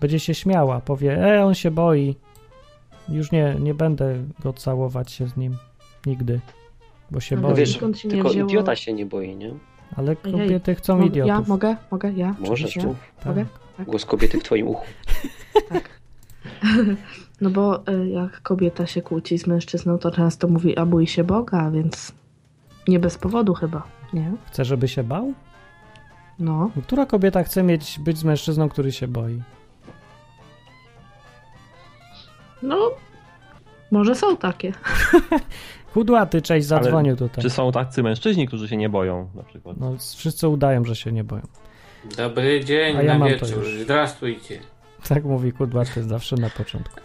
S2: Będzie się śmiała, powie, e, on się boi. Już nie, nie będę go całować się z nim. Nigdy. Bo się
S3: Ale
S2: boi.
S4: wiesz,
S3: skąd się nie
S4: Tylko
S3: wzięło-
S4: idiota się nie boi, nie?
S2: ale
S3: Ojej,
S2: kobiety chcą
S3: Mo-
S2: idiotów.
S3: Ja mogę? Mogę? Ja?
S4: Możesz
S3: Oczywiście.
S4: tu.
S2: Tak.
S3: Mogę?
S4: Głos kobiety w twoim uchu.
S3: No bo y, jak kobieta się kłóci z mężczyzną, to często mówi, a bój się Boga, więc nie bez powodu chyba, nie?
S2: Chce, żeby się bał?
S3: No,
S2: Która kobieta chce mieć być z mężczyzną, który się boi?
S3: no, może są takie.
S2: Chudłaty, cześć,
S5: Ale
S2: zadzwonił tutaj.
S5: Czy są tacy mężczyźni, którzy się nie boją na przykład?
S2: No, wszyscy udają, że się nie boją.
S10: Dobry dzień
S2: A ja
S10: na
S2: mam to
S10: wieczór.
S2: już.
S10: Zdrastujcie.
S2: Tak mówi Kudłaty zawsze na początku.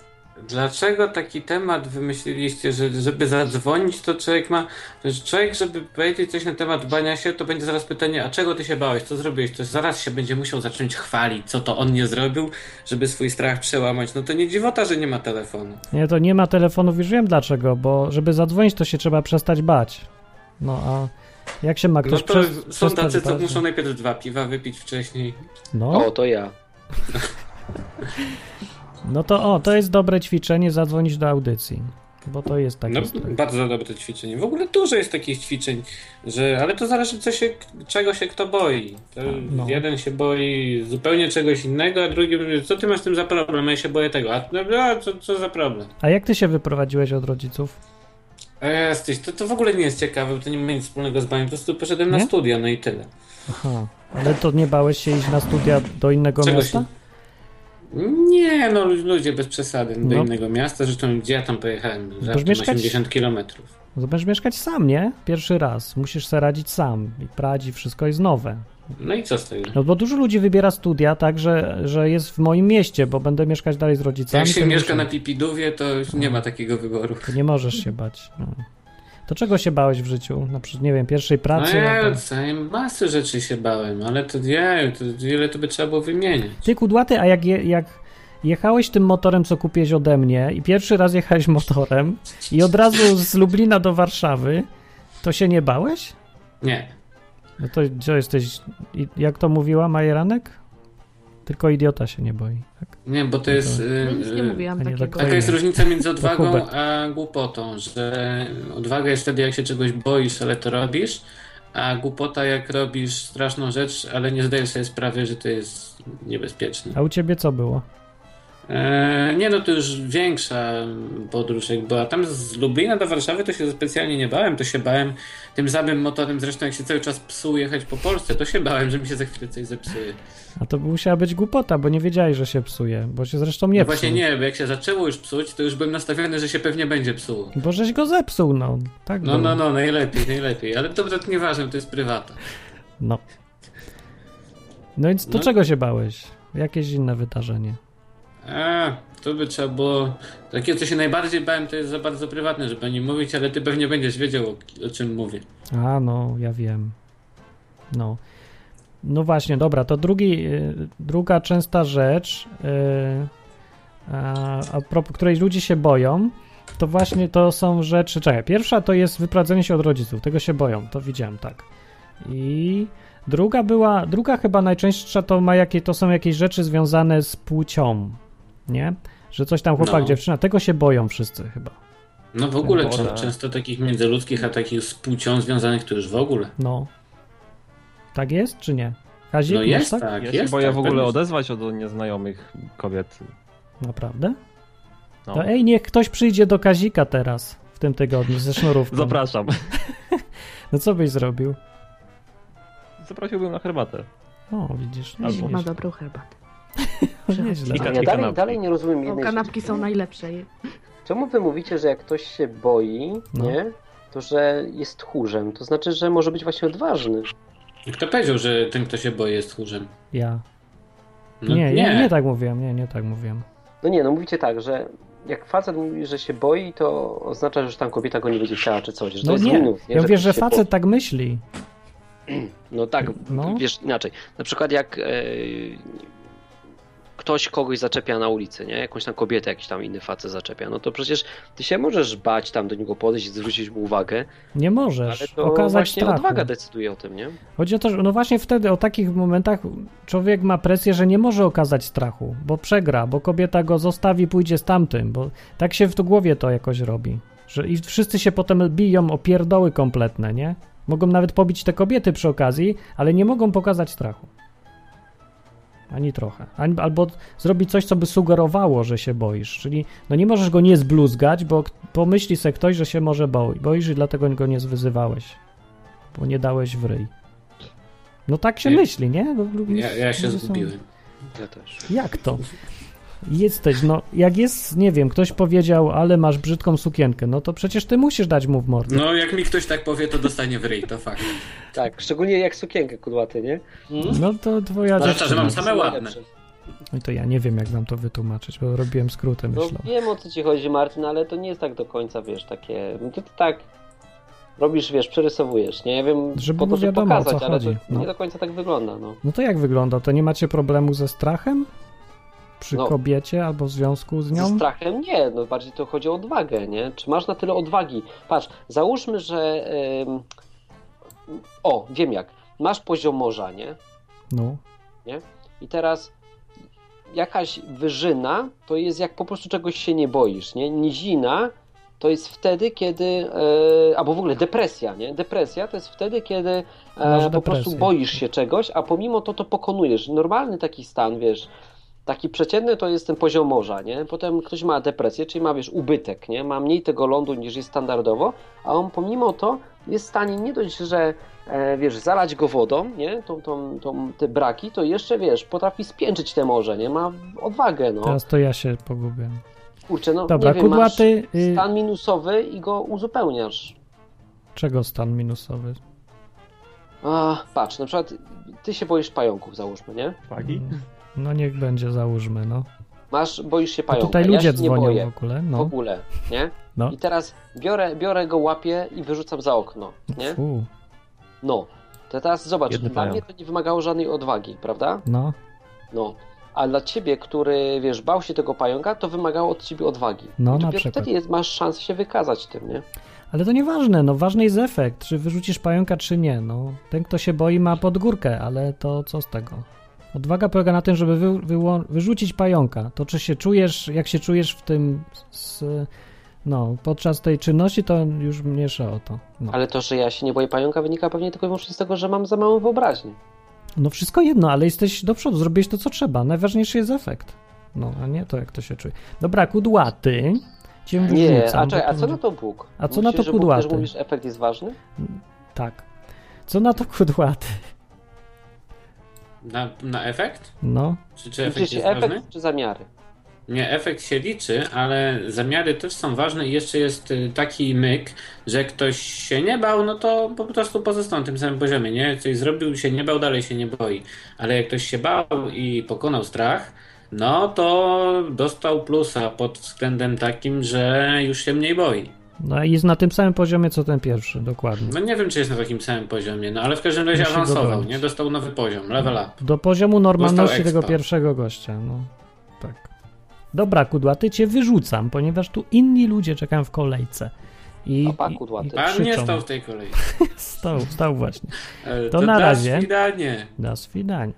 S10: Dlaczego taki temat wymyśliliście, że żeby zadzwonić, to człowiek ma. że Człowiek, żeby powiedzieć coś na temat bania się, to będzie zaraz pytanie, a czego ty się bałeś, co zrobiłeś? To zaraz się będzie musiał zacząć chwalić, co to on nie zrobił, żeby swój strach przełamać. No to nie dziwota, że nie ma telefonu.
S2: Nie, to nie ma telefonów, już wiem dlaczego, bo żeby zadzwonić, to się trzeba przestać bać. No a jak się ma
S10: No
S2: ktoś
S10: to
S2: przez,
S10: są
S2: przestać
S10: tacy, co
S2: bać?
S10: muszą najpierw dwa piwa wypić wcześniej.
S2: No,
S4: O, to ja.
S2: no to o, to jest dobre ćwiczenie zadzwonić do audycji, bo to Tak jest taki
S10: No,
S2: strach.
S10: bardzo dobre ćwiczenie. W ogóle dużo jest takich ćwiczeń, że, ale to zależy, co się, czego się kto boi. To
S2: No.
S10: Jeden się boi zupełnie czegoś innego, a drugi mówi, co ty masz z tym za problem? A Ja się boję tego. A, no, a co, co za problem?
S2: A jak ty się wyprowadziłeś od rodziców?
S10: A jesteś, to, to w ogóle nie jest ciekawe, bo to nie ma nic wspólnego z baniem. Po prostu poszedłem
S2: Nie?
S10: na studia, no i tyle.
S2: Aha, ale to nie bałeś się iść na studia do innego
S10: Czego
S2: miasta?
S10: się- Nie, no ludzie bez przesady. Do
S2: No.
S10: innego miasta, zresztą gdzie ja tam pojechałem? Żartem,
S2: mieszkać-
S10: 80 kilometrów.
S2: No Będziesz mieszkać sam, nie? Pierwszy raz. Musisz sobie radzić sam i radzi, wszystko jest nowe.
S10: No i co z tego?
S2: No bo dużo ludzi wybiera studia tak, że, że jest w moim mieście, bo będę mieszkać dalej z rodzicami.
S10: Jak się
S2: to
S10: mieszka
S2: muszę.
S10: na Pipidowie, to już nie ma takiego wyboru.
S2: To nie możesz się bać. No. To czego się bałeś w życiu? Na przykład, nie wiem, pierwszej
S10: No
S2: pracy?
S10: ja
S2: albo-
S10: całej masy rzeczy się bałem, ale to ja, to ile to by trzeba było wymienić.
S2: Ty kudłaty, a jak, je, jak jechałeś tym motorem, co kupiłeś ode mnie i pierwszy raz jechałeś motorem i od razu z Lublina do Warszawy, to się nie bałeś?
S10: Nie.
S2: No to co jesteś, i- jak to mówiła Majeranek? Tylko idiota się nie boi. Tak?
S10: Nie, bo to jest. y,
S3: Ja No nic nie
S10: y,
S2: a
S3: mówiłam
S2: nie do
S3: takiego.
S2: końca.
S10: Taka jest różnica między
S2: Hubert.
S10: odwagą a głupotą, że odwaga jest wtedy, jak się czegoś boisz, ale to robisz, a głupota, jak robisz straszną rzecz, ale nie zdajesz sobie sprawy, że to jest niebezpieczne.
S2: A u ciebie co było?
S10: E, nie, no to już większa podróż jak była. Tam z Lublina do Warszawy to się specjalnie nie bałem, to się bałem tym samym motorem, zresztą jak się cały czas psuł jechać po Polsce, to się bałem, że mi się za chwilę coś zepsuje.
S2: A to musiała być głupota, bo nie wiedziałeś, że się psuje, bo się zresztą nie
S10: no
S2: psuł.
S10: właśnie nie, bo jak się zaczęło już psuć, to już byłem nastawiony, że się pewnie będzie psuł.
S2: Bo żeś go zepsuł, no. Tak
S10: No,
S2: było.
S10: no, no, najlepiej, najlepiej. Ale dobra, to nieważne, to jest prywata.
S2: No. No więc do
S10: No.
S2: czego się bałeś? Jakieś inne wydarzenie.
S10: A, to by trzeba było... Takie, co się najbardziej bałem, to jest za bardzo prywatne, żeby o nim mówić, ale ty pewnie będziesz wiedział, o, o czym mówię.
S2: A, no, ja wiem. No. No właśnie, dobra, to drugi, y, druga częsta rzecz, y, a, a propos której ludzie się boją, to właśnie to są rzeczy. Czekaj, pierwsza to jest wyprowadzenie się od rodziców, tego się boją, to widziałem, tak. I druga była, druga chyba najczęstsza to, ma jakie, to są jakieś rzeczy związane z płcią, nie? Że coś tam chłopak,
S10: No.
S2: dziewczyna, tego się boją wszyscy chyba.
S10: No w ogóle
S5: Woda.
S10: czę- często takich międzyludzkich, a takich z płcią związanych to już w ogóle.
S2: No. Tak jest, czy nie? Kazik,
S10: No
S2: masz
S10: jest
S2: tak?
S10: tak,
S5: ja się
S10: jest
S5: boję
S10: tak,
S5: w ogóle
S10: pewnie.
S5: odezwać od nieznajomych kobiet.
S2: Naprawdę?
S5: No.
S2: To ej, niech ktoś przyjdzie do Kazika teraz w tym tygodniu ze sznurówką.
S5: Zapraszam.
S2: No co byś zrobił?
S5: zaprosiłbym na herbatę.
S2: O, widzisz. No,
S5: Albo-
S2: Albo
S3: Ma
S2: nieźle.
S3: dobrą herbatę.
S2: nieźle.
S5: I ka-
S4: Ja
S5: i
S4: dalej,
S5: kanapki.
S4: dalej nie rozumiem
S3: O,
S4: jednej
S3: kanapki
S4: rzeczy.
S3: są najlepsze.
S4: Czemu wy mówicie, że jak ktoś się boi,
S2: No.
S4: nie? To, że jest tchórzem. To znaczy, że może być właśnie odważny.
S10: Kto powiedział, że ten, kto się boi, jest tchórzem?
S2: Ja.
S10: No,
S2: Nie, nie, nie tak mówiłem, nie, nie tak mówiłem.
S4: No nie, no mówicie tak, że jak facet mówi, że się boi, to oznacza, że tam kobieta go nie będzie chciała czy coś. Że to
S2: No
S4: jest
S2: nie,
S4: minus, nie?
S2: Ja mówię,
S4: ktoś
S2: że
S4: się
S2: facet tak myśli.
S4: No tak,
S2: No.
S4: wiesz inaczej. Na przykład jak e, ktoś kogoś zaczepia na ulicy, nie? Jakąś tam kobietę, jakiś tam inny facet zaczepia, no to przecież ty się możesz bać tam do niego podejść i zwrócić mu uwagę,
S2: Nie
S4: ale
S2: możesz
S4: to
S2: okazać
S4: właśnie
S2: strach.
S4: odwaga decyduje o tym, nie?
S2: Chodzi o to, że no właśnie wtedy, o takich momentach człowiek ma presję, że nie może okazać strachu, bo przegra, bo kobieta go zostawi, pójdzie z tamtym, bo tak się w tu głowie to jakoś robi. Że I wszyscy się potem biją o pierdoły kompletne, nie? Mogą nawet pobić te kobiety przy okazji, ale nie mogą pokazać strachu. Ani trochę. Ani, albo zrobić coś, co by sugerowało, że się boisz. Czyli no nie możesz go nie zbluzgać, bo k- pomyśli se ktoś, że się może boi. Boisz i dlatego go nie zwyzywałeś. Bo nie dałeś w ryj. No tak się
S10: Nie.
S2: myśli, nie? No, lubisz-
S10: Ja, ja się
S2: ludzie są-
S10: zgubiłem.
S4: Ja też.
S2: Jak to? Jesteś, no jak jest, nie wiem, ktoś powiedział, ale masz brzydką sukienkę, no to przecież ty musisz dać mu w mordę.
S10: No, jak mi ktoś tak powie, to dostanie w ryj, to fakt.
S4: Tak, szczególnie jak sukienkę kudłaty, nie? Hmm?
S2: No to twoja
S10: Zwłaszcza, że
S2: dziewczyna.
S10: mam same ładne.
S2: No to ja nie wiem, jak wam to wytłumaczyć, bo robiłem skróty,
S4: No
S2: myślę.
S4: wiem o co ci chodzi, Martin, ale to nie jest tak do końca, wiesz, takie... no To ty tak robisz, wiesz, przerysowujesz, nie? Ja wiem,
S2: Żeby
S4: po to,
S2: było
S4: żeby
S2: wiadomo, o
S4: pokazać,
S2: co
S4: ale to
S2: chodzi, no.
S4: nie do końca tak wygląda, no.
S2: No to jak wygląda? To nie macie problemu ze strachem? Przy
S4: No.
S2: kobiecie albo w związku z
S4: Ze
S2: nią?
S4: strachem nie, no bardziej to chodzi o odwagę, nie? Czy masz na tyle odwagi? Patrz, załóżmy, że. em, o, wiem jak. Masz poziom morza, nie?
S2: No.
S4: I teraz jakaś wyżyna to jest jak po prostu czegoś się nie boisz, nie? Nizina to jest wtedy, kiedy. E, albo w ogóle depresja, nie? Depresja to jest wtedy, kiedy
S2: Masz
S4: e, po prostu
S2: depresję.
S4: boisz się czegoś, a pomimo to to pokonujesz. Normalny taki stan, wiesz. Taki przeciętny to jest ten poziom morza, nie? Potem ktoś ma depresję, czyli ma, wiesz, ubytek, nie? Ma mniej tego lądu niż jest standardowo, a on pomimo to jest w stanie nie dość, że e, wiesz, zalać go wodą, nie? Tą, tą, tą, te braki, to jeszcze, wiesz, potrafi spięczyć te morze, nie? Ma odwagę, no.
S2: Teraz to ja się pogubię.
S4: Kurczę, no
S2: Dobra,
S4: nie wiem, masz
S2: kudłaty, y,
S4: stan minusowy i go uzupełniasz.
S2: czego stan minusowy?
S4: A, patrz, na przykład ty się boisz pająków, załóżmy, nie?
S5: Pagi?
S2: Mm, No niech będzie, załóżmy, no.
S4: Masz, boisz się
S2: A
S4: pająków,
S2: tutaj
S4: ja
S2: ludzie
S4: się nie
S2: dzwonią
S4: boję.
S2: w ogóle,
S4: w
S2: no.
S4: ogóle, nie?
S2: No.
S4: I teraz biorę, biorę go, łapię i wyrzucam za okno, nie?
S2: Fu,
S4: No. To teraz zobacz,
S5: Jedny
S4: dla mnie
S5: pająk.
S4: to nie wymagało żadnej odwagi, prawda?
S2: no.
S4: No. A dla ciebie, który, wiesz, bał się tego pająka, to wymagało od ciebie odwagi.
S2: No,
S4: I
S2: na
S4: dopiero
S2: przykład.
S4: wtedy jest, masz szansę się wykazać tym, nie?
S2: Ale to nieważne, no ważny jest efekt, czy wyrzucisz pająka, czy nie. No, ten, kto się boi, ma podgórkę, ale to co z tego? Odwaga polega na tym, żeby wy, wyło, wyrzucić pająka. To czy się czujesz, jak się czujesz w tym, s- s- no, podczas tej czynności, to już mniejsza o to. No.
S4: Ale to, że ja się nie boję pająka, wynika pewnie tylko i wyłącznie z tego, że mam za małą wyobraźnię.
S2: no wszystko jedno, ale jesteś do przodu, zrobiłeś to, co trzeba. Najważniejszy jest efekt. No, a nie to, jak to się czuje. Dobra, kudłaty. Cię
S4: Nie,
S2: wyrzucam,
S4: a,
S2: bo
S4: czekaj,
S2: to
S4: a co
S2: będzie-
S4: na to Bóg?
S2: A co na
S4: Myślisz,
S2: to
S4: że Bóg też
S2: kudłaty?
S4: mówisz, efekt jest ważny?
S2: Tak. Co na to kudłaty?
S10: Na, na efekt?
S2: No,
S10: Czy, czy efekt
S4: Liczy się
S10: jest
S4: efekt
S10: ważny?
S4: czy zamiary?
S10: Nie, efekt się liczy, ale zamiary też są ważne i jeszcze jest y, taki myk, że jak ktoś się nie bał, no to po prostu pozostał na tym samym poziomie, nie? Coś zrobił, się nie bał, dalej się nie boi. Ale jak ktoś się bał i pokonał strach, no to dostał plusa pod względem takim, że już się mniej boi.
S2: No i jest na tym samym poziomie co ten pierwszy, dokładnie.
S10: No nie wiem, czy jest na takim samym poziomie, no ale w każdym razie
S2: Musi go
S10: awansował,
S2: dogonić.
S10: nie? Dostał nowy poziom, level up.
S2: Do poziomu normalności
S10: Dostał
S2: tego
S10: expa.
S2: pierwszego gościa, no tak. Dobra, kudłaty cię wyrzucam, ponieważ tu inni ludzie czekają w kolejce. I,
S4: A pa, kudłaty.
S2: i, i
S10: Pan nie
S2: krzyczą.
S10: stał w tej kolei.
S2: stał, stał właśnie.
S10: E,
S2: To na
S10: dasz
S2: razie.
S10: Widanie.
S2: Do swidania.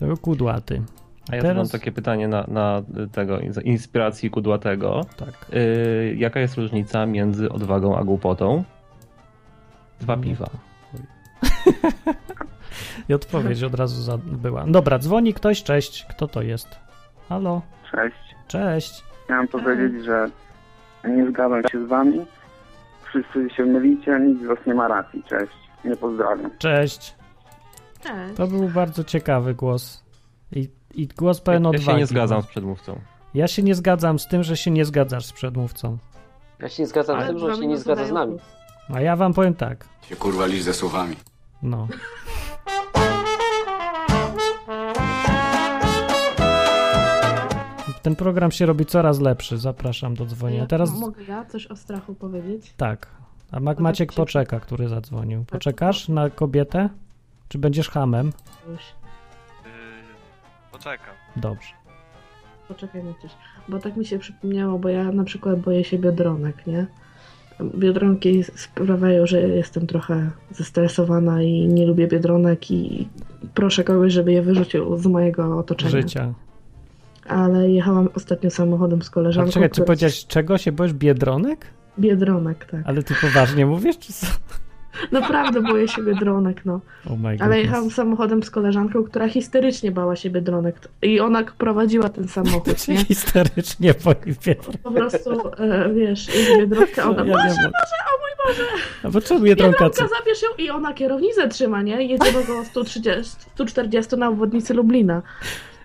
S2: To kudłaty.
S5: A ja tu
S2: Teraz-
S5: mam tak- takie pytanie na, na tego z inspiracji kudłatego.
S2: Tak.
S5: Yy, jaka jest różnica między odwagą a głupotą? Dwa piwa.
S2: I odpowiedź od razu za... była. Dobra, dzwoni ktoś, cześć. Kto to jest? Halo,
S9: Cześć.
S2: cześć.
S9: Chciałem powiedzieć, że nie zgadzam się z wami. Wszyscy się mylicie, nikt z was nie ma racji. Cześć. Nie pozdrawiam.
S2: Cześć.
S3: Cześć.
S2: To był bardzo ciekawy głos. I, i głos pełen
S5: Ja
S2: odwagi.
S5: się nie zgadzam z przedmówcą.
S2: Ja się nie zgadzam z tym, że się nie zgadzasz z przedmówcą.
S4: Ja się nie zgadzam z tym, że on się nie zgadza z nami.
S2: A ja wam powiem tak.
S11: Się kurwa lisz
S10: да
S11: ze słowami.
S2: No. Ten program się robi coraz lepszy. Zapraszam do dzwonienia. Teraz
S3: Mogę ja coś o strachu powiedzieć?
S2: tak. A Mac Maciek poczeka, który zadzwonił.
S3: Tak.
S2: Poczekasz na kobietę? Czy będziesz hamem?
S3: Już.
S12: Poczekam.
S2: Dobrze.
S3: Poczekaj na coś. Bo tak mi się przypomniało, bo ja na przykład boję się biodronek, nie? Biodronki sprawiają, że jestem trochę zestresowana i nie lubię biodronek i proszę kogoś, żeby je wyrzucił z mojego otoczenia.
S2: Życia.
S3: Ale jechałam ostatnio samochodem z
S2: A
S3: koleżanką.
S2: czekaj, czy
S3: która-
S2: powiedziałeś czego się boisz? Biedronek?
S3: Biedronek, tak.
S2: Ale ty poważnie mówisz, czy co?
S3: Naprawdę boję się biedronek, no.
S2: Oh my goodness.
S3: Ale jechałam samochodem z koleżanką, która histerycznie bała się biedronek. I ona prowadziła ten samochód, nie?
S2: Histerycznie po
S3: Po prostu, e, wiesz, jest biedronka, ona,
S2: Ja
S3: Boże,
S2: wiem, o-
S3: Boże, o mój Boże!
S2: A No bo czemu Biedronka co?
S3: Biedronka, zabierz ją i ona kierownicę trzyma, nie? Jedzie do około 130, 140 na obwodnicy Lublina,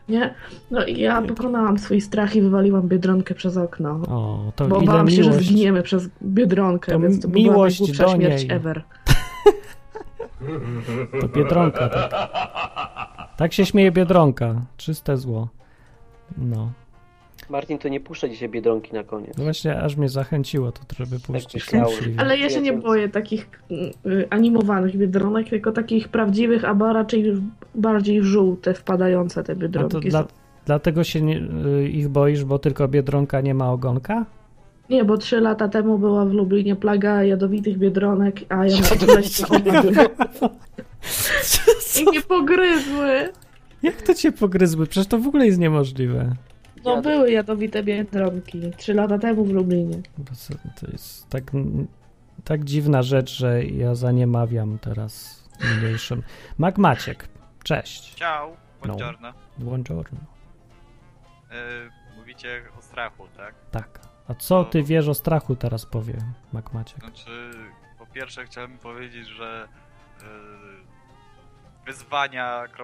S3: nie? No i ja pokonałam swój strach i wywaliłam biedronkę przez okno.
S2: O, to
S3: bo
S2: ile
S3: bałam się, że
S2: miłość.
S3: zginiemy przez biedronkę,
S2: To
S3: więc to
S2: miłość
S3: była najgłupsza
S2: do
S3: śmierć
S2: niej.
S3: ever.
S2: To Biedronka, tak. Tak się śmieje Biedronka. Czyste zło. No.
S4: Martin, to nie puszczę dzisiaj Biedronki na koniec.
S2: No Właśnie aż mnie zachęciło to, żeby puścić.
S4: myślałem.
S2: Szczęśliwie.
S3: Ale ja się nie boję takich y, animowanych biedronek, tylko takich prawdziwych, a ba- raczej w- bardziej w żółte wpadające te
S2: A No to
S3: biedronki
S2: dla,
S3: są.
S2: dlatego się nie, y, ich boisz, bo tylko Biedronka nie ma ogonka?
S3: Nie, bo trzy lata temu była w Lublinie plaga jadowitych biedronek, a ja mam leśne owady. I nie pogryzły.
S2: Jak to cię pogryzły? Przecież to w ogóle jest niemożliwe.
S3: No były jadowite biedronki. Trzy lata temu w Lublinie.
S2: Bo co- To jest tak, tak dziwna rzecz, że ja zaniemawiam teraz mniejszym. Mac Maciek, cześć. No.
S12: Ciao, buongiorno.
S2: Buongiorno.
S12: Y, mówicie o strachu, tak?
S2: Tak. A co ty wiesz o strachu teraz powie Mac Maciek?
S12: Znaczy, po pierwsze chciałem powiedzieć, że e, y,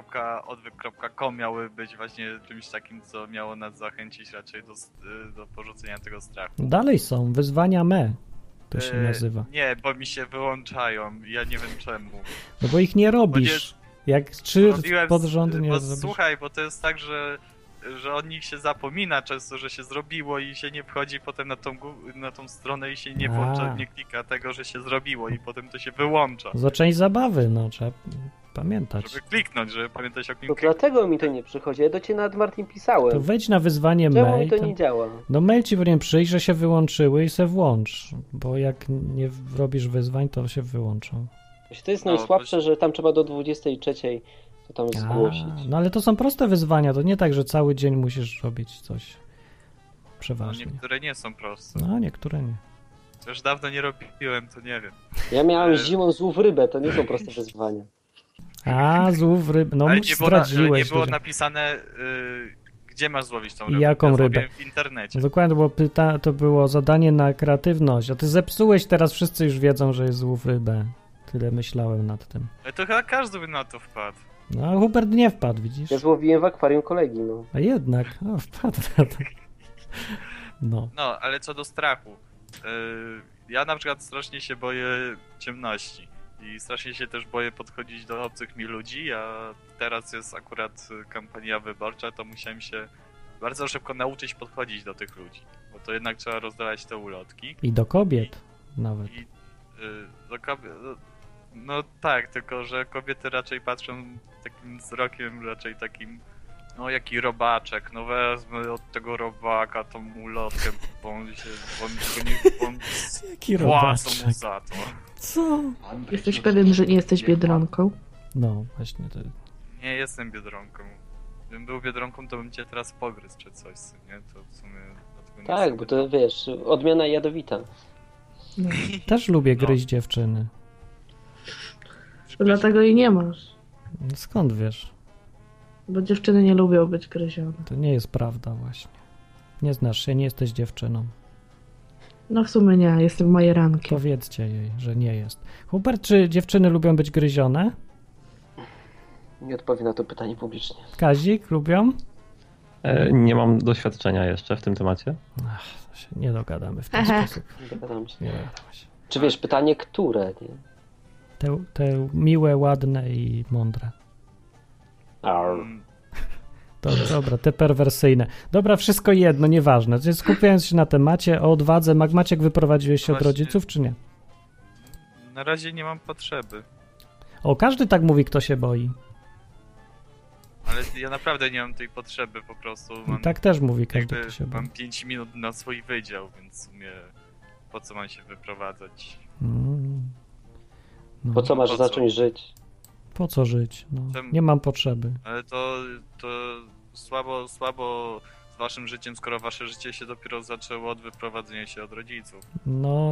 S12: wyzwania.odwyk.com miały być właśnie czymś takim, co miało nas zachęcić raczej do, s- y, do porzucenia tego strachu.
S2: Dalej są, wyzwania me. To się
S12: Y,
S2: nazywa.
S12: Nie, bo mi się wyłączają, ja nie wiem czemu.
S2: No bo ich nie robisz. Jak trzy
S12: Robiłem z-
S2: pod rząd nie
S12: bo
S2: zrobisz.
S12: Słuchaj, bo to jest tak, że, że o nich się zapomina często, że się zrobiło i się nie wchodzi potem na tą, gu- na tą stronę i się nie
S2: A.
S12: włącza, nie klika tego, że się zrobiło i potem to się wyłącza.
S2: Za część zabawy, no trzeba pamiętać.
S12: Żeby kliknąć, żeby pamiętać o
S4: To dlatego mi to nie przychodzi. Ja do ciebie nawet Martin pisałem.
S2: To wejdź na wyzwanie
S4: Czemu
S2: mail.
S4: mi to nie działa?
S2: No mail ci powinien przyjść, że się wyłączyły i se włącz. Bo jak nie w- robisz wyzwań, to się wyłączą.
S4: Właśnie To jest
S2: No,
S4: najsłabsze, że tam trzeba do 23 to tam
S2: A,
S4: zgłosić.
S2: no ale to są proste wyzwania, to nie tak, że cały dzień musisz robić coś.
S12: No
S2: Przeważnie.
S12: Niektóre nie są proste.
S2: No, niektóre nie.
S12: To już dawno nie robiłem, to nie wiem. E,
S4: Ja miałem zimą złów No, rybę, to nie są proste wyzwania.
S2: A, złów ryb. No,
S12: Tak. Ale
S2: ale
S12: nie było, na, ale nie
S2: zdradziłeś.
S12: było
S2: to.
S12: napisane, y, gdzie masz złowić tą
S2: I
S12: rybę.
S2: jaką
S12: ja
S2: rybę?
S12: złowiłem w internecie.
S2: No Dokładnie, to było, pyta- to było zadanie na kreatywność. A ty zepsułeś, teraz wszyscy już wiedzą, że jest złów rybę. Tyle myślałem nad tym.
S12: Ale to chyba każdy by na to wpadł.
S2: No, a Hubert nie wpadł, widzisz?
S4: Ja złowiłem w akwarium kolegi, no.
S2: A jednak, a, wpadł na to. No.
S12: No, ale co do strachu. Yy, Ja na przykład strasznie się boję ciemności. I strasznie się też boję podchodzić do obcych mi ludzi, a teraz jest akurat y, kampania wyborcza, to musiałem się bardzo szybko nauczyć podchodzić do tych ludzi. Bo to jednak trzeba rozdalać te ulotki.
S2: I do kobiet nawet.
S12: I y, do kobie- do- No tak, tylko że kobiety raczej patrzą takim wzrokiem, raczej takim. No jaki robaczek, no wezmę od tego robaka tą ulotkę, bo on się, bo on, bo nie, bo on
S2: Jaki
S12: płacą mu
S2: robaczek?
S12: za to.
S2: Co?
S3: Jesteś pewien, że nie jesteś biedronką?
S2: No, właśnie. To...
S12: Nie jestem biedronką. Gdybym był biedronką, to bym cię teraz pogryzł czy coś, co nie? To w sumie dlatego nie
S4: Tak, bo to wiesz, odmiana jadowita.
S2: Też lubię
S12: No.
S2: gryźć dziewczyny.
S3: Dlatego jej nie masz,
S2: No Skąd wiesz?
S3: bo dziewczyny nie lubią być gryzione.
S2: To nie jest prawda właśnie. Nie znasz się, nie jesteś dziewczyną.
S3: No w sumie nie, jestem majerankiem.
S2: Powiedzcie jej, że nie jest. Hubert, czy dziewczyny lubią być gryzione?
S6: Nie odpowie na to pytanie publicznie.
S2: Kazik, lubią?
S5: E, Nie mam doświadczenia jeszcze w tym temacie.
S2: Ach, się nie dogadamy w ten
S6: Aha.
S2: sposób.
S6: Nie dogadam się.
S2: Nie
S6: Czy wiesz, pytanie które, nie?
S2: Te, te miłe, ładne i mądre.
S12: Mm,
S2: To, dobra, te perwersyjne. Dobra, wszystko jedno, nieważne. Czyli Skupiając się na temacie o odwadze, Magmaciek wyprowadziłeś się od
S12: Właśnie.
S2: rodziców, czy nie?
S12: Na razie nie mam potrzeby.
S2: O, każdy tak mówi, kto się boi.
S12: Ale ja naprawdę nie mam tej potrzeby po prostu. Mam,
S2: tak też mówi każdy,
S12: jakby
S2: kto się boi.
S12: Mam 5 minut na swój wydział, więc w sumie po co mam się wyprowadzać?
S2: Mm. No.
S6: Po co masz
S12: Po co?
S6: zacząć żyć?
S2: Po co żyć? No,
S12: Czemu?
S2: nie mam potrzeby.
S12: Ale to, to słabo, słabo z waszym życiem, skoro wasze życie się dopiero zaczęło od wyprowadzenia się od rodziców.
S2: No,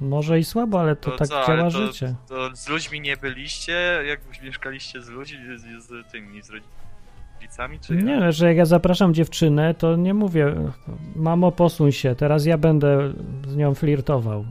S2: może i słabo, ale to, tak
S12: co, ale
S2: działa
S12: to,
S2: życie.
S12: To z ludźmi nie byliście? Jak mieszkaliście z ludźmi, z, z tymi, z rodzicami? Czy
S2: Nie, ale że jak ja zapraszam dziewczynę, to nie mówię, mamo, posuń się, teraz ja będę z nią flirtował.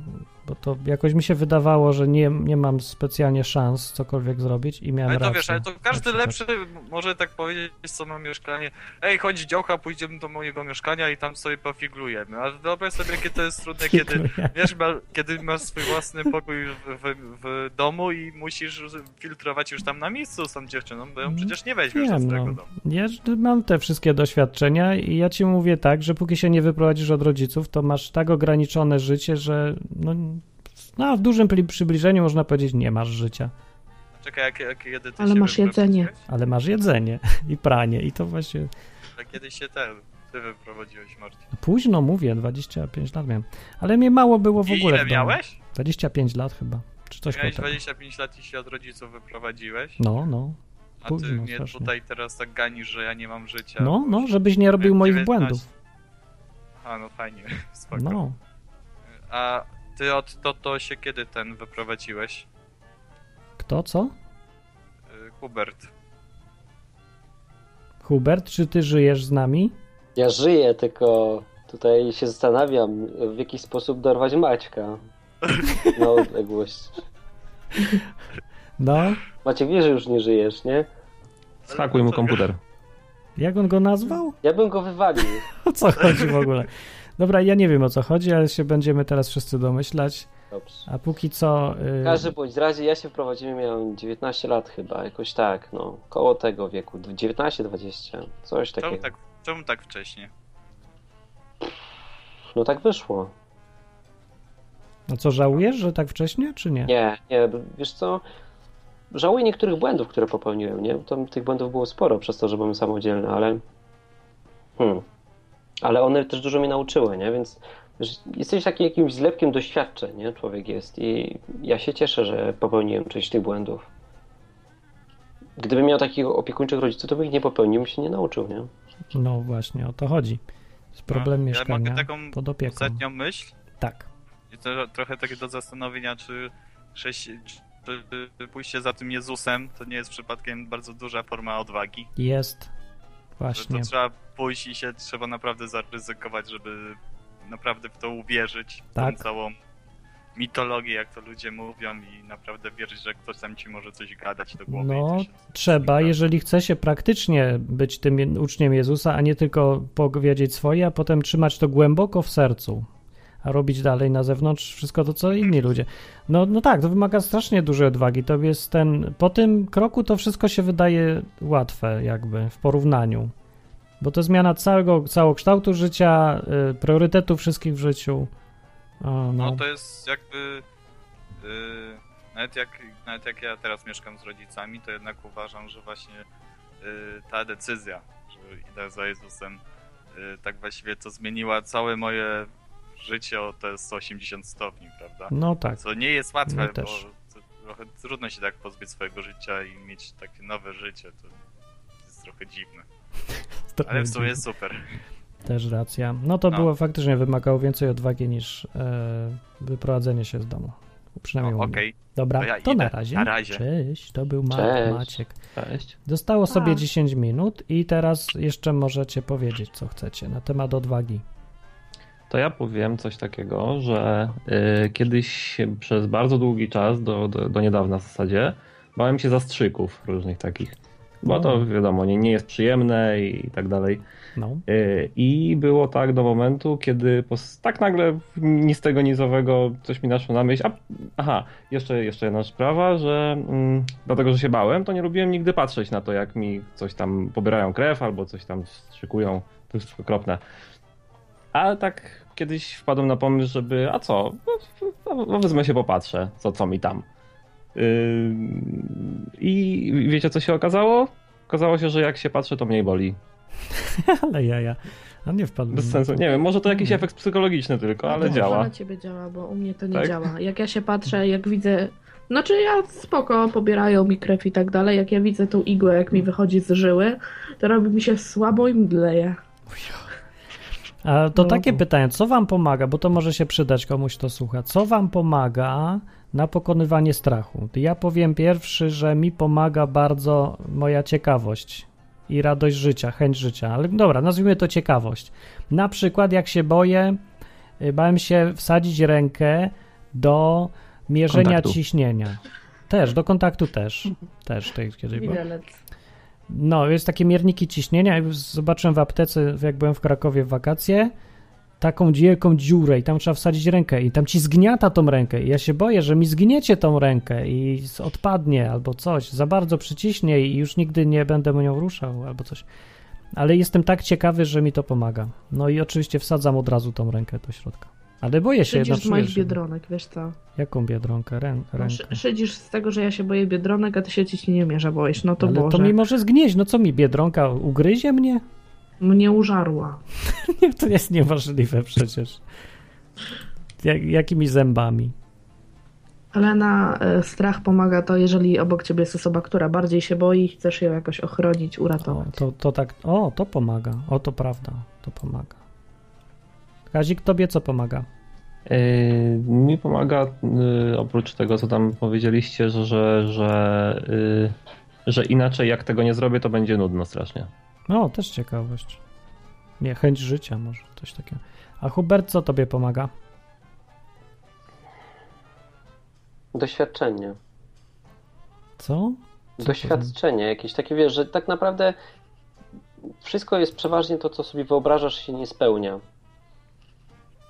S2: Bo to jakoś mi się wydawało, że nie, nie mam specjalnie szans cokolwiek zrobić i miałem
S12: Ale to
S2: rację.
S12: wiesz, ale to każdy lepszy m- może tak powiedzieć, co ma mieszkanie. Ej, chodź działka, pójdziemy do mojego mieszkania i tam sobie pofiglujemy. A wyobraź sobie, jakie to jest trudne, kiedy,
S2: Figlujemy.
S12: wiesz, ma, kiedy masz swój własny pokój w, w, w domu i musisz filtrować już tam na miejscu z tą dziewczyną, bo ją przecież nie weźmiesz do
S2: Mm, Wiem,
S12: swojego
S2: no.
S12: domu.
S2: Ja ż- mam te wszystkie doświadczenia i ja ci mówię tak, że póki się nie wyprowadzisz od rodziców, to masz tak ograniczone życie, że no, no w dużym pli- przybliżeniu można powiedzieć, nie masz życia.
S12: Czekaj, jak, jak kiedy ty
S3: Ale
S12: się
S3: masz
S12: wypro-
S3: jedzenie.
S2: Ale masz jedzenie i pranie i to właśnie... no,
S12: a Kiedy się ten, ty wyprowadziłeś, Marcin.
S2: Późno mówię, 25 lat miałem. Ale mnie mało było w
S12: I
S2: ogóle.
S12: ile
S2: w domu.
S12: miałeś?
S2: 25 lat chyba. Czy coś koło
S12: Miałeś
S2: tego.
S12: 25 lat i się od rodziców wyprowadziłeś?
S2: No, no.
S12: A ty
S2: Późno,
S12: mnie
S2: strasznie.
S12: tutaj teraz tak ganisz, że ja nie mam życia.
S2: No,
S12: bo
S2: no,
S12: już
S2: żebyś nie robił
S12: miałem
S2: moich
S12: 19.
S2: błędów.
S12: A, no fajnie, spoko.
S2: No.
S12: A ty od to, to się kiedy ten wyprowadziłeś?
S2: Kto, co?
S12: Y, Hubert.
S2: Hubert, czy ty żyjesz z nami?
S6: Ja żyję, tylko tutaj się zastanawiam, w jaki sposób dorwać Maćka na odległość.
S2: No.
S6: Maciek wie, że już nie żyjesz, nie?
S5: Zhakuj mu komputer.
S2: Jak on go nazwał?
S6: Ja bym go wywalił.
S2: O co chodzi w ogóle? Dobra, ja nie wiem o co chodzi, ale się będziemy teraz wszyscy domyślać.
S6: Dobrze.
S2: A póki co. y,
S6: W każdym bądź razie ja się wprowadziłem, miałem 19 lat chyba, jakoś tak, no, koło tego wieku, 19-20, coś
S12: Czemu
S6: takiego.
S12: tak, czemu tak wcześnie?
S6: No tak wyszło.
S2: No co, żałujesz, że tak wcześnie, czy nie?
S6: Nie, nie, b- wiesz co, żałuję niektórych błędów, które popełniłem, nie? Tam tych błędów było sporo przez to, że byłem samodzielny, ale... Hmm. Ale one też dużo mnie nauczyły, nie? Więc wiesz, jesteś taki jakimś zlepkiem doświadczeń, nie? Człowiek jest i ja się cieszę, że popełniłem część tych błędów. Gdybym miał takich opiekuńczych rodziców, to bym ich nie popełnił, bym się nie nauczył, nie?
S2: No właśnie, o to chodzi. Z problem
S12: No, ja
S2: mieszkania
S12: mogę taką
S2: pod opieką.
S12: ostatnią myśl?
S2: Tak.
S12: I to, trochę takie do zastanowienia, czy, sześć, czy, czy pójście za tym Jezusem to nie jest przypadkiem bardzo duża forma odwagi.
S2: Jest. Właśnie.
S12: Że to trzeba pójść i się trzeba naprawdę zaryzykować, żeby naprawdę w to uwierzyć. w
S2: Tak.
S12: Tą całą mitologię, jak to ludzie mówią i naprawdę wierzyć, że ktoś tam ci może coś gadać do głowy.
S2: No, trzeba, jeżeli chce się praktycznie być tym je- uczniem Jezusa, a nie tylko powiedzieć swoje, a potem trzymać to głęboko w sercu, a robić dalej na zewnątrz wszystko to, co inni ludzie. No, no tak, to wymaga strasznie dużej odwagi. To jest ten, po tym kroku to wszystko się wydaje łatwe, jakby w porównaniu. Bo to zmiana całego, całokształtu życia, y, priorytetów wszystkich w życiu. A,
S12: No,
S2: no.
S12: to jest jakby. y, nawet, jak, nawet jak ja teraz mieszkam z rodzicami, to jednak uważam, że właśnie y, ta decyzja, że idę za Jezusem, y, tak właściwie to zmieniła całe moje życie o te 180 stopni, prawda?
S2: No tak.
S12: Co nie jest łatwe,
S2: Ja
S12: bo
S2: też.
S12: to trochę trudno się tak pozbyć swojego życia i mieć takie nowe życie. To jest trochę dziwne.
S2: Trochę
S12: Ale w sumie
S2: dziwne.
S12: super.
S2: Też racja. No to
S12: No.
S2: było faktycznie wymagało więcej odwagi niż e, wyprowadzenie się z domu. Przynajmniej u mnie.
S12: okej.
S2: Dobra,
S12: To
S2: to,
S12: ja
S2: na
S12: idę.
S2: razie.
S12: Na razie.
S2: Cześć, to był Ma-
S5: Cześć.
S2: Maciek.
S5: Cześć.
S2: Dostało sobie
S5: Pa.
S2: 10 minut i teraz jeszcze możecie powiedzieć, co chcecie na temat odwagi.
S5: To ja powiem coś takiego, że y, kiedyś przez bardzo długi czas, do, do, do niedawna w zasadzie, bałem się zastrzyków różnych takich. bo to wiadomo, nie, nie jest przyjemne i tak dalej.
S2: No,
S5: Y, I było tak do momentu, kiedy pos- tak nagle ni z tego nizowego coś mi naszło na myśl. A, aha, jeszcze, jeszcze jedna sprawa, że mm, dlatego, że się bałem, to nie lubiłem nigdy patrzeć na to, jak mi coś tam pobierają krew albo coś tam szykują. To jest okropne. Ale tak kiedyś wpadłem na pomysł, żeby, a co, no, no, wezmę się popatrzę, co, co mi tam. Yy, I wiecie, co się okazało? Okazało się, że jak się patrzy, to mniej boli.
S2: Ale jaja. A nie wpadłem.
S5: Bez sensu. Nie wiem, może to jakiś efekt psychologiczny tylko, ale
S3: to
S5: działa.
S3: Może Mm. na ciebie działa, bo u mnie to nie
S5: Tak?
S3: działa. Jak ja się patrzę, jak widzę. Znaczy ja spoko, pobierają mi krew i tak dalej. Jak ja widzę tą igłę, jak mi wychodzi z żyły, to robi mi się słabo i mdleje.
S2: A to takie pytanie, co wam pomaga, bo to może się przydać komuś, kto słucha. Co wam pomaga na pokonywanie strachu? Ja powiem pierwszy, że mi pomaga bardzo moja ciekawość i radość życia, chęć życia. Ale dobra, nazwijmy to ciekawość. Na przykład jak się boję, y, bałem się wsadzić rękę do mierzenia
S5: Kontaktu.
S2: ciśnienia. Też, do kontaktu też. Też tej kiedyś było. No, jest takie mierniki ciśnienia. i Zobaczyłem w aptece, jak byłem w Krakowie w wakacje, taką wielką dziurę i tam trzeba wsadzić rękę i tam ci zgniata tą rękę i ja się boję, że mi zgniecie tą rękę i s- odpadnie albo coś, za bardzo przyciśnie i już nigdy nie będę nią ruszał albo coś. Ale jestem tak ciekawy, że mi to pomaga. No i oczywiście wsadzam od razu tą rękę do środka. Ale boję się
S3: Szydzisz
S2: jednak.
S3: z moich
S2: czuję, że-
S3: biedronek, wiesz co?
S2: Jaką biedronkę? Rę,
S3: No,
S2: rękę.
S3: szy- szydzisz z tego, że ja się boję biedronek, a ty się ciśnienia mierza boisz. No to
S2: Ale
S3: Boże.
S2: to mi może zgnieść. No co mi biedronka ugryzie mnie?
S3: Mnie użarła.
S2: Nie, to jest niemożliwe przecież. Jak, jakimi zębami?
S3: Ale na e, strach pomaga to, jeżeli obok ciebie jest osoba, która bardziej się boi, chcesz ją jakoś ochronić, uratować.
S2: To, to tak. O, to pomaga. O, to prawda. To pomaga. Kazik, tobie co pomaga?
S5: Yy, Mi pomaga yy, oprócz tego, co tam powiedzieliście, że, że, że, yy, że inaczej jak tego nie zrobię, to będzie nudno strasznie.
S2: No, też ciekawość. Nie, chęć życia może, coś takiego. A Hubert, co tobie pomaga?
S6: Doświadczenie.
S2: Co?
S6: Doświadczenie jakieś takie, wiesz, że tak naprawdę wszystko jest przeważnie to, co sobie wyobrażasz, się nie spełnia.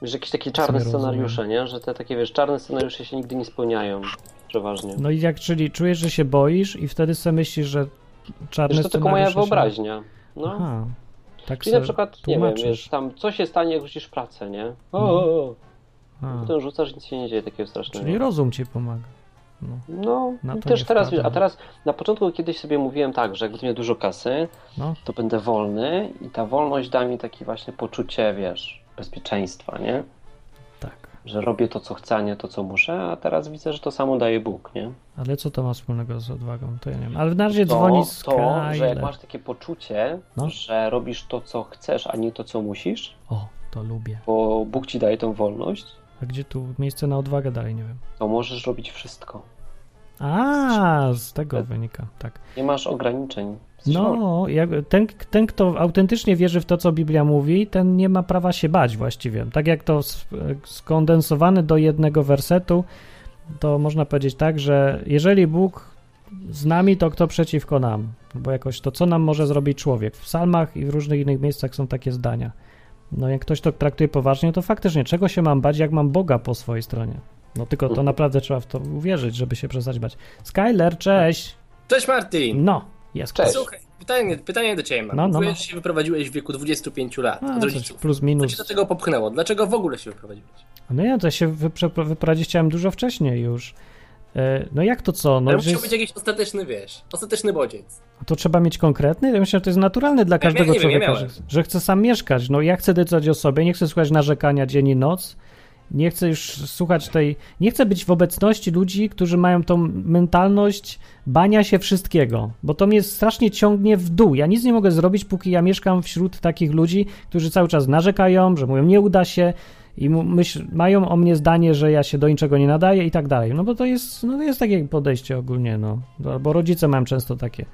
S6: Że jakieś takie czarne
S2: Sobie rozumiem.
S6: scenariusze, nie? Że te takie, wiesz, czarne scenariusze się nigdy nie spełniają przeważnie.
S2: No i jak, czyli czujesz, że się boisz i wtedy sobie myślisz, że czarny
S6: Wiesz, to tylko moja
S2: scenariusze się-
S6: wyobraźnia. No.
S2: Aha. Tak
S6: Czyli na
S2: sobie
S6: przykład, nie wiem,
S2: tłumaczysz.
S6: wiesz, tam co się stanie, jak rzucisz pracę, nie? O, o,
S2: Mhm.
S6: o.
S2: A.
S6: Potem rzucasz, nic się nie dzieje takiego strasznego.
S2: Czyli rozum ci pomaga. No.
S6: No,
S2: Na
S6: no
S2: to
S6: też
S2: nie
S6: teraz, wiesz,
S2: wpadam.
S6: a teraz na początku kiedyś sobie mówiłem tak, że jak będę miał dużo kasy,
S2: No.
S6: to będę wolny i ta wolność da mi takie właśnie poczucie, wiesz, bezpieczeństwa, nie?
S2: Tak.
S6: Że robię to, co chcę, a nie to, co muszę, a teraz widzę, że to samo daje Bóg, nie?
S2: Ale co to ma wspólnego z odwagą? To ja nie wiem. Ale na razie
S6: to,
S2: dzwoni
S6: to, że jak
S2: Skyler.
S6: masz takie poczucie,
S2: No.
S6: że robisz to, co chcesz, a nie to, co musisz,
S2: O, to lubię.
S6: bo Bóg ci daje tą wolność,
S2: A gdzie tu miejsce na odwagę dalej, nie wiem.
S6: to możesz robić wszystko.
S2: A, z
S6: E-
S2: tego wynika, tak.
S6: Nie masz ograniczeń.
S2: No, jak, ten, ten, kto autentycznie wierzy w to, co Biblia mówi, ten nie ma prawa się bać właściwie. Tak jak to s- skondensowane do jednego wersetu, to można powiedzieć tak, że jeżeli Bóg z nami, to kto przeciwko nam? No Bo jakoś to, co nam może zrobić człowiek? W psalmach i w różnych innych miejscach są takie zdania. No, jak ktoś to traktuje poważnie, to faktycznie, czego się mam bać, jak mam Boga po swojej stronie? No, tylko to naprawdę trzeba w to uwierzyć, żeby się przestać bać. Skyler, cześć!
S11: Cześć Martin!
S2: No, jest
S11: Cześć.
S2: ktoś.
S11: Słuchaj, pytanie, pytanie do Ciebie mam.
S2: No, no,
S11: Mówiłeś,
S2: no.
S11: że się wyprowadziłeś w wieku 25 lat
S2: A,
S11: od
S2: coś
S11: rodziców.
S2: plus
S11: Co Cię
S2: minus.
S11: do tego popchnęło? Dlaczego w ogóle się wyprowadziłeś?
S2: No ja to się wyprzepro- wyprowadzić chciałem dużo wcześniej już. E, No jak to co? No,
S11: Ale
S2: że
S11: musiał być
S2: jest,
S11: jakiś ostateczny, wiesz, ostateczny bodziec.
S2: to trzeba mieć konkretny? Ja myślę, że to jest naturalne dla
S11: Ja mia-
S2: każdego
S11: nie wiem, ja
S2: człowieka, że,
S11: miałem.
S2: że chce sam mieszkać. No ja chcę decydować o sobie, nie chcę słuchać narzekania dzień i noc. Nie chcę już słuchać tej. Nie chcę być w obecności ludzi, którzy mają tą mentalność bania się wszystkiego, bo to mnie strasznie ciągnie w dół. Ja nic nie mogę zrobić, póki ja mieszkam wśród takich ludzi, którzy cały czas narzekają, że mówią, nie uda się i mu- myśl, mają o mnie zdanie, że ja się do niczego nie nadaję i tak dalej. No bo to jest, no to jest takie podejście ogólnie, no. Albo rodzice mają często takie.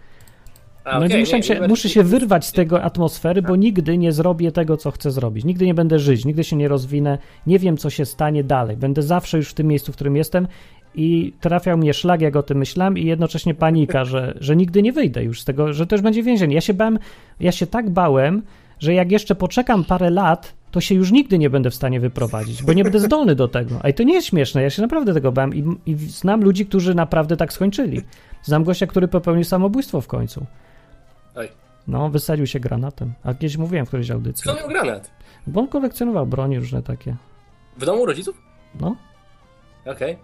S11: A,
S2: No
S11: okej,
S2: więc
S11: nie,
S2: muszę, się,
S11: nie,
S2: muszę
S11: nie,
S2: się wyrwać z tego atmosfery, bo nigdy nie zrobię tego, co chcę zrobić. Nigdy nie będę żyć, nigdy się nie rozwinę, nie wiem, co się stanie dalej. Będę zawsze już w tym miejscu, w którym jestem i trafiał mnie szlag, jak o tym myślałem i jednocześnie panika, że, że nigdy nie wyjdę już z tego, że to już będzie więzienie. Ja się bałem, ja się tak bałem, że jak jeszcze poczekam parę lat, to się już nigdy nie będę w stanie wyprowadzić, bo nie będę zdolny do tego. A i to nie jest śmieszne, ja się naprawdę tego bałem i, i znam ludzi, którzy naprawdę tak skończyli. Znam gościa, który popełnił samobójstwo w końcu.
S11: Oj.
S2: No, wysadził się granatem. A kiedyś mówiłem w którejś audycji.
S11: Kto miał granat?
S2: Bo on kolekcjonował broni różne takie.
S11: W domu rodziców?
S2: No.
S11: Okej.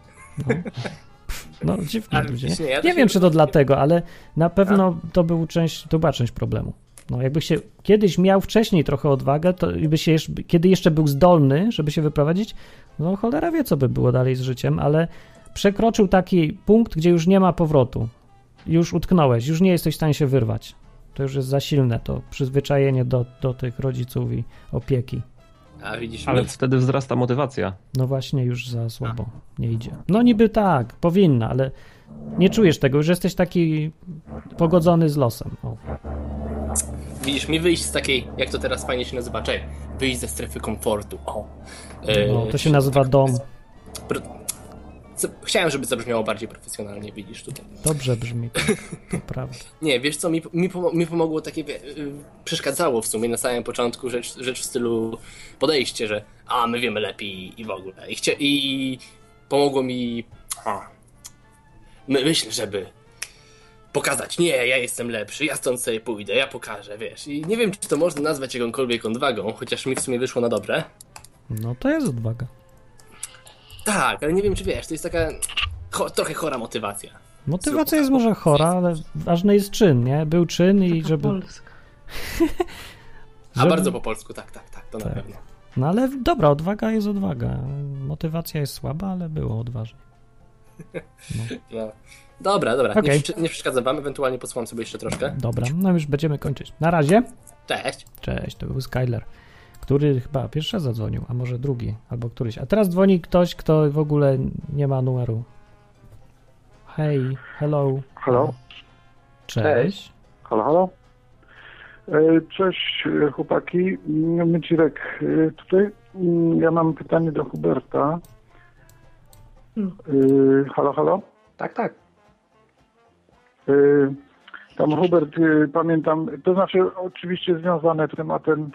S2: No, dziwni
S11: Ale
S2: ludzie.
S11: właśnie
S2: Nie,
S11: ja to
S2: nie
S11: się-
S2: wiem, czy to dlatego, ale na pewno to, był część, to była część problemu. No, jakby się kiedyś miał wcześniej trochę odwagę, to i by się jeszcze, kiedy jeszcze był zdolny, żeby się wyprowadzić, no cholera wie, co by było dalej z życiem, ale przekroczył taki punkt, gdzie już nie ma powrotu. Już utknąłeś, już nie jesteś w stanie się wyrwać. To już jest za silne, to przyzwyczajenie do, do tych rodziców i opieki.
S11: A widzisz,
S5: Ale
S11: nic.
S5: wtedy wzrasta motywacja.
S2: No właśnie, już za słabo nie idzie. No niby tak, powinna, ale nie czujesz tego, już jesteś taki pogodzony z losem. O.
S11: Widzisz, mi wyjść z takiej, jak to teraz fajnie się nazywa, czekaj, wyjść ze strefy komfortu, o. E,
S2: No, to się nazywa dom.
S11: pro- co- Chciałem, żeby zabrzmiało bardziej profesjonalnie, widzisz tutaj.
S2: Dobrze brzmi, to, to prawda.
S11: Nie, wiesz co, mi, mi, pomo- mi pomogło takie, wie, y, przeszkadzało w sumie na samym początku rzecz, rzecz w stylu podejście, że a, my wiemy lepiej i w ogóle. I, chcia, i pomogło mi, a, my, myśl, żeby pokazać, nie, ja jestem lepszy, ja stąd sobie pójdę, ja pokażę, wiesz. I nie wiem, czy to można nazwać jakąkolwiek odwagą, chociaż mi w sumie wyszło na dobre.
S2: No to jest odwaga.
S11: Tak, ale nie wiem, czy wiesz, to jest taka cho, trochę chora motywacja.
S2: Motywacja jest może chora, ale ważny jest czyn, nie? Był czyn i żeby...
S11: A
S2: Żeby-
S11: bardzo po polsku, tak, tak, tak, to na
S2: Tak.
S11: pewno.
S2: No ale dobra, odwaga jest odwaga. Motywacja jest słaba, ale było odważnie.
S11: No. Dobra, dobra,
S2: Okej.
S11: nie, przesz- nie przeszkadzam wam, ewentualnie posłucham sobie jeszcze troszkę.
S2: Dobra, no już będziemy kończyć. Na razie.
S11: Cześć.
S2: Cześć, to był Skyler, który chyba pierwszy raz zadzwonił, a może drugi, albo któryś. A teraz dzwoni ktoś, kto w ogóle nie ma numeru. Hej, hello.
S9: Halo?
S2: Cześć.
S9: Halo, halo. E, Cześć e, chłopaki, Mm, Mycirek e, tutaj. Mm, Ja mam pytanie do Huberta. E, Halo, halo? Tak, tak. Tam Hubert, e, pamiętam, to znaczy oczywiście związane z tematem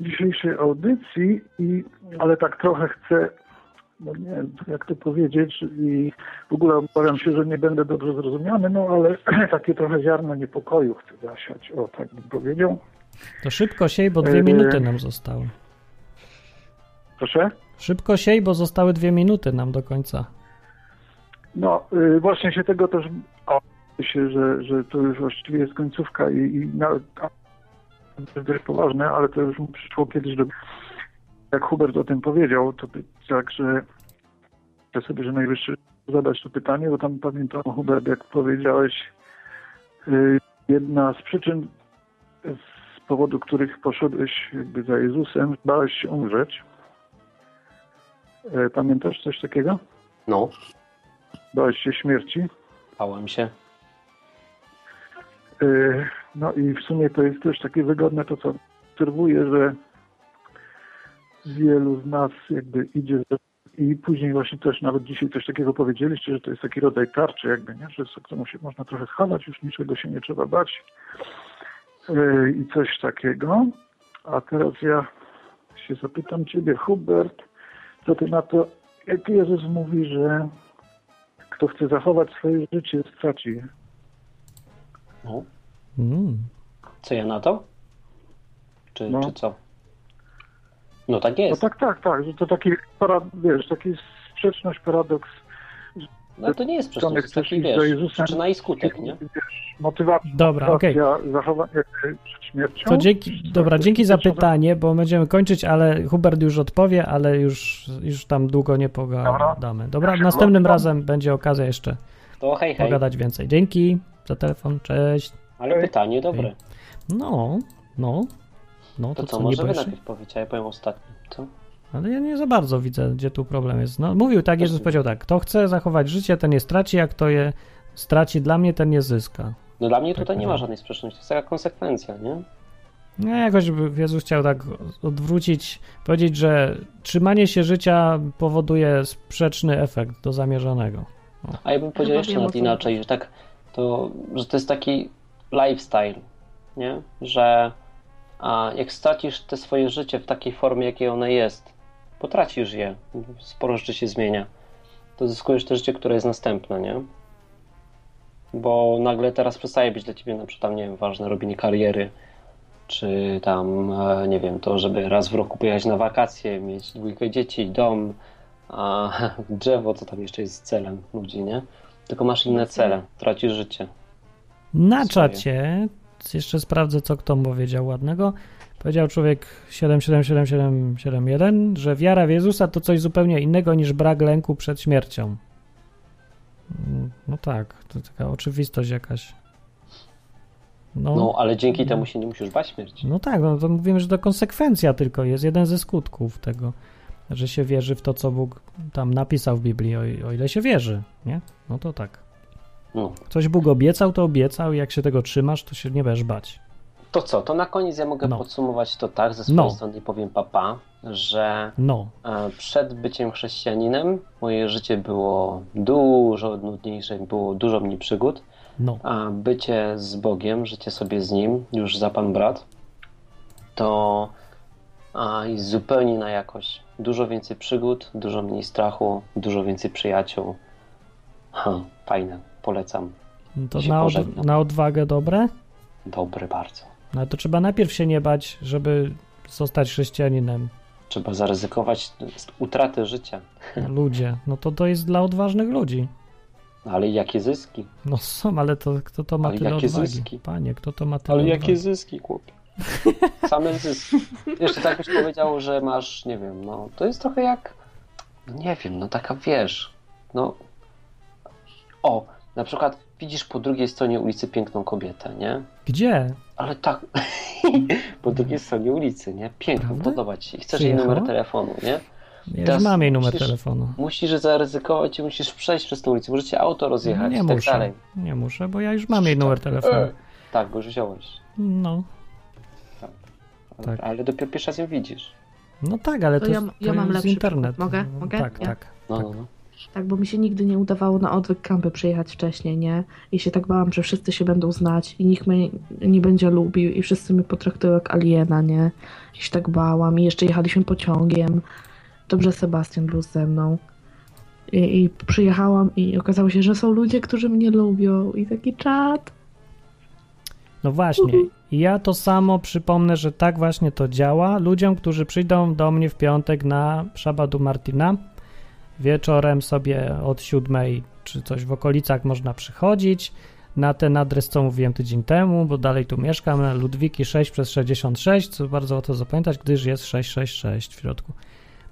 S9: dzisiejszej audycji, i, ale tak trochę chcę, no nie wiem, jak to powiedzieć i w ogóle obawiam się, że nie będę dobrze zrozumiany, no ale takie trochę ziarno niepokoju chcę zasiać, o tak bym powiedział.
S2: To szybko siej, bo dwie
S9: Eee.
S2: minuty nam zostały.
S9: Proszę?
S2: Szybko siej, bo zostały dwie minuty nam do końca.
S9: No y, właśnie się tego też o, się, że, że to już właściwie jest końcówka i, i nawet a, to jest dość poważne, ale to już mu przyszło kiedyś do... Jak Hubert o tym powiedział, to by- tak, że że sobie, że najwyższy czas zadać to pytanie, bo tam pamiętam Hubert, jak powiedziałeś, y, jedna z przyczyn, z powodu których poszedłeś jakby za Jezusem, bałeś się umrzeć. Y, Pamiętasz coś takiego?
S4: No,
S9: Bałeś się śmierci?
S4: bałem się.
S9: Yy, No i w sumie to jest też takie wygodne to, co obserwuję, że wielu z nas jakby idzie z- i później właśnie też nawet dzisiaj coś takiego powiedzieliście, że to jest taki rodzaj tarczy jakby, nie? że z którą się można trochę schować, już niczego się nie trzeba bać Yy, i coś takiego. A teraz ja się zapytam ciebie, Hubert, co ty na to, jak Jezus mówi, że kto chce zachować swoje życie, straci je.
S4: No.
S2: Mm.
S4: Co ja na to? Czy,
S9: No.
S4: czy co? No tak jest.
S9: No tak, tak, tak, że to taki, para- wiesz, taki sprzeczność, paradoks. że-
S4: No to nie jest
S9: że
S4: sprzeczność,
S9: chcesz
S4: to taki,
S9: iść
S4: wiesz,
S9: do Jezusa,
S4: przyczyna i skutek, nie?
S9: Motywacja,
S2: Dobra, okej.
S9: motywacja zachowa- jakby przed śmiercią.
S2: To dzięki, dobra, dzięki za pytanie, bo będziemy kończyć, ale Hubert już odpowie, ale już, już tam długo nie pogadamy. Dobra, następnym razem będzie okazja jeszcze
S4: To hej, hej.
S2: pogadać więcej. Dzięki za telefon, cześć.
S4: Ale pytanie dobre.
S2: No, no, no,
S4: To,
S2: to,
S4: co,
S2: co, nie
S4: może wy
S2: boisz się?
S4: najpierw powiecie, a ja powiem ostatnio, co?
S2: Ale ja nie za bardzo widzę, gdzie tu problem jest. No, mówił tak, Jezus powiedział tak, kto chce zachować życie, ten je straci, a kto je straci dla mnie, ten je zyska.
S4: No dla mnie tutaj nie ma żadnej sprzeczności, to jest taka konsekwencja, nie?
S2: No jakoś by Jezus chciał tak odwrócić, powiedzieć, że trzymanie się życia powoduje sprzeczny efekt do zamierzonego.
S4: A ja bym powiedział
S2: Chyba
S4: jeszcze
S2: wiem, o
S4: nawet
S2: co
S4: inaczej, że tak to, że to jest taki lifestyle, nie? Że a jak stracisz te swoje życie w takiej formie, jakiej ono jest, potracisz je,
S11: Mhm.
S4: sporo rzeczy się zmienia, to zyskujesz to życie, które jest następne, nie? Bo nagle teraz przestaje być dla ciebie na przykład, tam, nie wiem, ważne robienie kariery, czy tam, e, nie wiem, to, żeby raz w roku pojechać na wakacje, mieć dwójkę dzieci, dom, a drzewo, co tam jeszcze jest celem ludzi, nie? Tylko masz inne cele, tracisz życie.
S2: Na czacie, jeszcze sprawdzę, co kto powiedział ładnego. Powiedział człowiek 777771, że wiara w Jezusa to coś zupełnie innego niż brak lęku przed śmiercią. Mm, No tak, to taka oczywistość jakaś.
S4: No, ale dzięki temu się nie musisz bać śmierci.
S2: No tak, no to mówimy, że to konsekwencja tylko jest, jeden ze skutków tego, że się wierzy w to, co Bóg tam napisał w Biblii, o, o ile się wierzy, nie? No to tak.
S4: No.
S2: Coś Bóg obiecał, to obiecał i jak się tego trzymasz, to się nie będziesz bać.
S4: To co, to na koniec ja mogę podsumować to tak, ze swojej
S2: No.
S4: strony powiem papa, że
S2: No.
S4: e, przed byciem chrześcijaninem moje życie było dużo nudniejsze, było dużo mniej przygód,
S2: No.
S4: a bycie z Bogiem, życie sobie z Nim, już za Pan brat, to a, jest zupełnie na jakość. Dużo więcej przygód, dużo mniej strachu, dużo więcej przyjaciół. Ha, fajne, polecam.
S2: No To
S4: Się
S2: na, od,
S4: pożegnam.
S2: na odwagę dobre?
S4: Dobre bardzo.
S2: No to trzeba najpierw się nie bać, żeby zostać chrześcijaninem.
S4: Trzeba zaryzykować z- utratę życia,
S2: Ludzie. No to to jest dla odważnych ludzi.
S4: ale jakie zyski?
S2: No są, ale to kto to ma
S4: Ale
S2: tyle
S4: jakie
S2: odwagi?
S4: zyski?
S2: Panie, kto to ma tyle
S4: Ale
S2: odwagi?
S4: jakie zyski, chłopie? Same zyski. Jeszcze tak byś powiedział, że masz, nie wiem, no to jest trochę jak, no nie wiem, no taka wiesz, no o, na przykład widzisz po drugiej stronie ulicy piękną kobietę, nie?
S2: Gdzie?
S4: Ale tak, po drugiej stronie ulicy, nie? Piękną, podoba ci się. Chcesz jej
S2: Przyjechała?
S4: numer telefonu, nie?
S2: Ja już
S4: Teraz
S2: mam jej numer
S4: musisz-
S2: telefonu.
S4: Musisz zaryzykować i musisz przejść przez tą ulicę, możecie auto rozjechać
S2: nie
S4: i tak
S2: muszę.
S4: dalej.
S2: Nie muszę, bo ja już mam jej numer telefonu.
S4: E, Tak, bo już wziąłeś.
S2: No.
S4: Tak. Ale dopiero pierwszy raz ją widzisz.
S2: No tak, ale
S3: To
S2: to,
S3: ja-
S2: jest-
S3: ja
S2: to
S3: mam
S2: jest
S3: lepszy
S2: internet.
S3: przykład. Mogę?
S2: No,
S3: Mogę?
S2: Tak,
S3: Ja?
S2: tak.
S4: No, no, no.
S3: Tak, bo mi się nigdy nie udawało na odwyk kampy przyjechać wcześniej, nie? I się tak bałam, że wszyscy się będą znać i nikt mnie nie będzie lubił i wszyscy mnie potraktują jak aliena, nie? I się tak bałam i jeszcze jechaliśmy pociągiem. Dobrze Sebastian był ze mną. I, I przyjechałam i okazało się, że są ludzie, którzy mnie lubią i taki czat.
S2: No właśnie. I ja to samo przypomnę, że tak właśnie to działa. Ludziom, którzy przyjdą do mnie w piątek na szabadu Martina, wieczorem sobie od siódmej czy coś w okolicach można przychodzić. Na ten adres, co mówiłem tydzień temu, bo dalej tu mieszkam, na Ludwiki 6 przez 66, co bardzo łatwo zapamiętać, gdyż jest 666 w środku.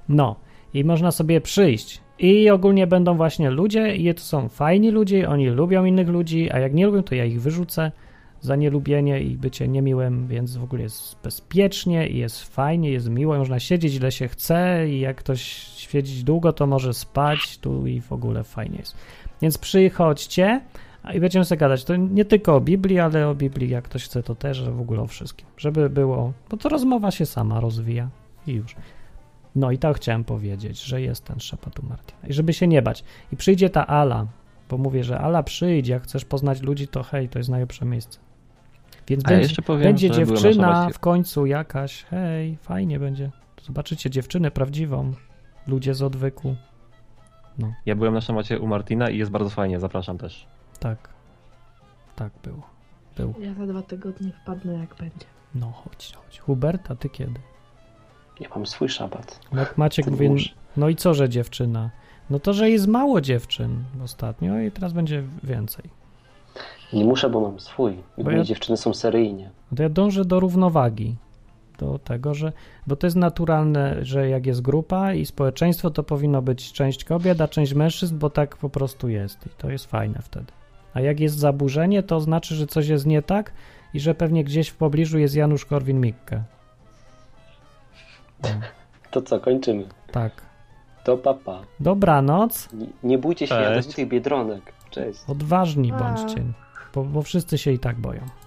S2: No, i można sobie przyjść. I ogólnie będą właśnie ludzie, i to są fajni ludzie, oni lubią innych ludzi, a jak nie lubią, to ja ich wyrzucę za nielubienie i bycie niemiłym, więc w ogóle jest bezpiecznie i jest fajnie, jest miło, można siedzieć ile się chce i jak ktoś siedzieć długo, to może spać tu i w ogóle fajnie jest. Więc przychodźcie a i będziemy sobie gadać. To nie tylko o Biblii, ale o Biblii, jak ktoś chce, to też, że w ogóle o wszystkim. Żeby było, bo to rozmowa się sama rozwija i już. No i tak chciałem powiedzieć, że jest ten Szapatu Martina. I żeby się nie bać. I przyjdzie ta Ala, bo mówię, że Ala przyjdzie, jak chcesz poznać ludzi, to hej, to jest najlepsze miejsce. Więc
S5: A ja
S2: będzie,
S5: jeszcze powiem,
S2: będzie
S5: że byłem na
S2: dziewczyna
S5: Szabacie.
S2: w końcu jakaś, hej, fajnie będzie. Zobaczycie dziewczynę prawdziwą, ludzie z odwyku.
S5: No. Ja byłem na szamacie u Martina i jest bardzo fajnie, zapraszam też.
S2: Tak. Tak było. Był.
S3: Ja za dwa tygodnie wpadnę jak będzie.
S2: No chodź, chodź. Hubert, a ty kiedy?
S4: Ja mam swój szabat.
S2: Jak Maciek
S4: Ty
S2: mówi,
S4: mąż.
S2: no i co, że dziewczyna? No to, że jest mało dziewczyn ostatnio i teraz będzie więcej.
S4: Nie muszę, bo mam swój. I
S2: Bo
S4: moje
S2: ja-
S4: dziewczyny są seryjnie.
S2: No to ja dążę do równowagi. Do tego, że. Bo to jest naturalne, że jak jest grupa i społeczeństwo, to powinno być część kobiet, a część mężczyzn, bo tak po prostu jest. I to jest fajne wtedy. A jak jest zaburzenie, to znaczy, że coś jest nie tak i że pewnie gdzieś w pobliżu jest Janusz Korwin-Mikke.
S4: To co, kończymy.
S2: Tak.
S4: To papa.
S2: Dobranoc.
S4: Nie, nie bójcie się
S2: Cześć.
S4: jadowitych biedronek. Cześć.
S2: Odważni bądźcie, bo, bo wszyscy się i tak boją.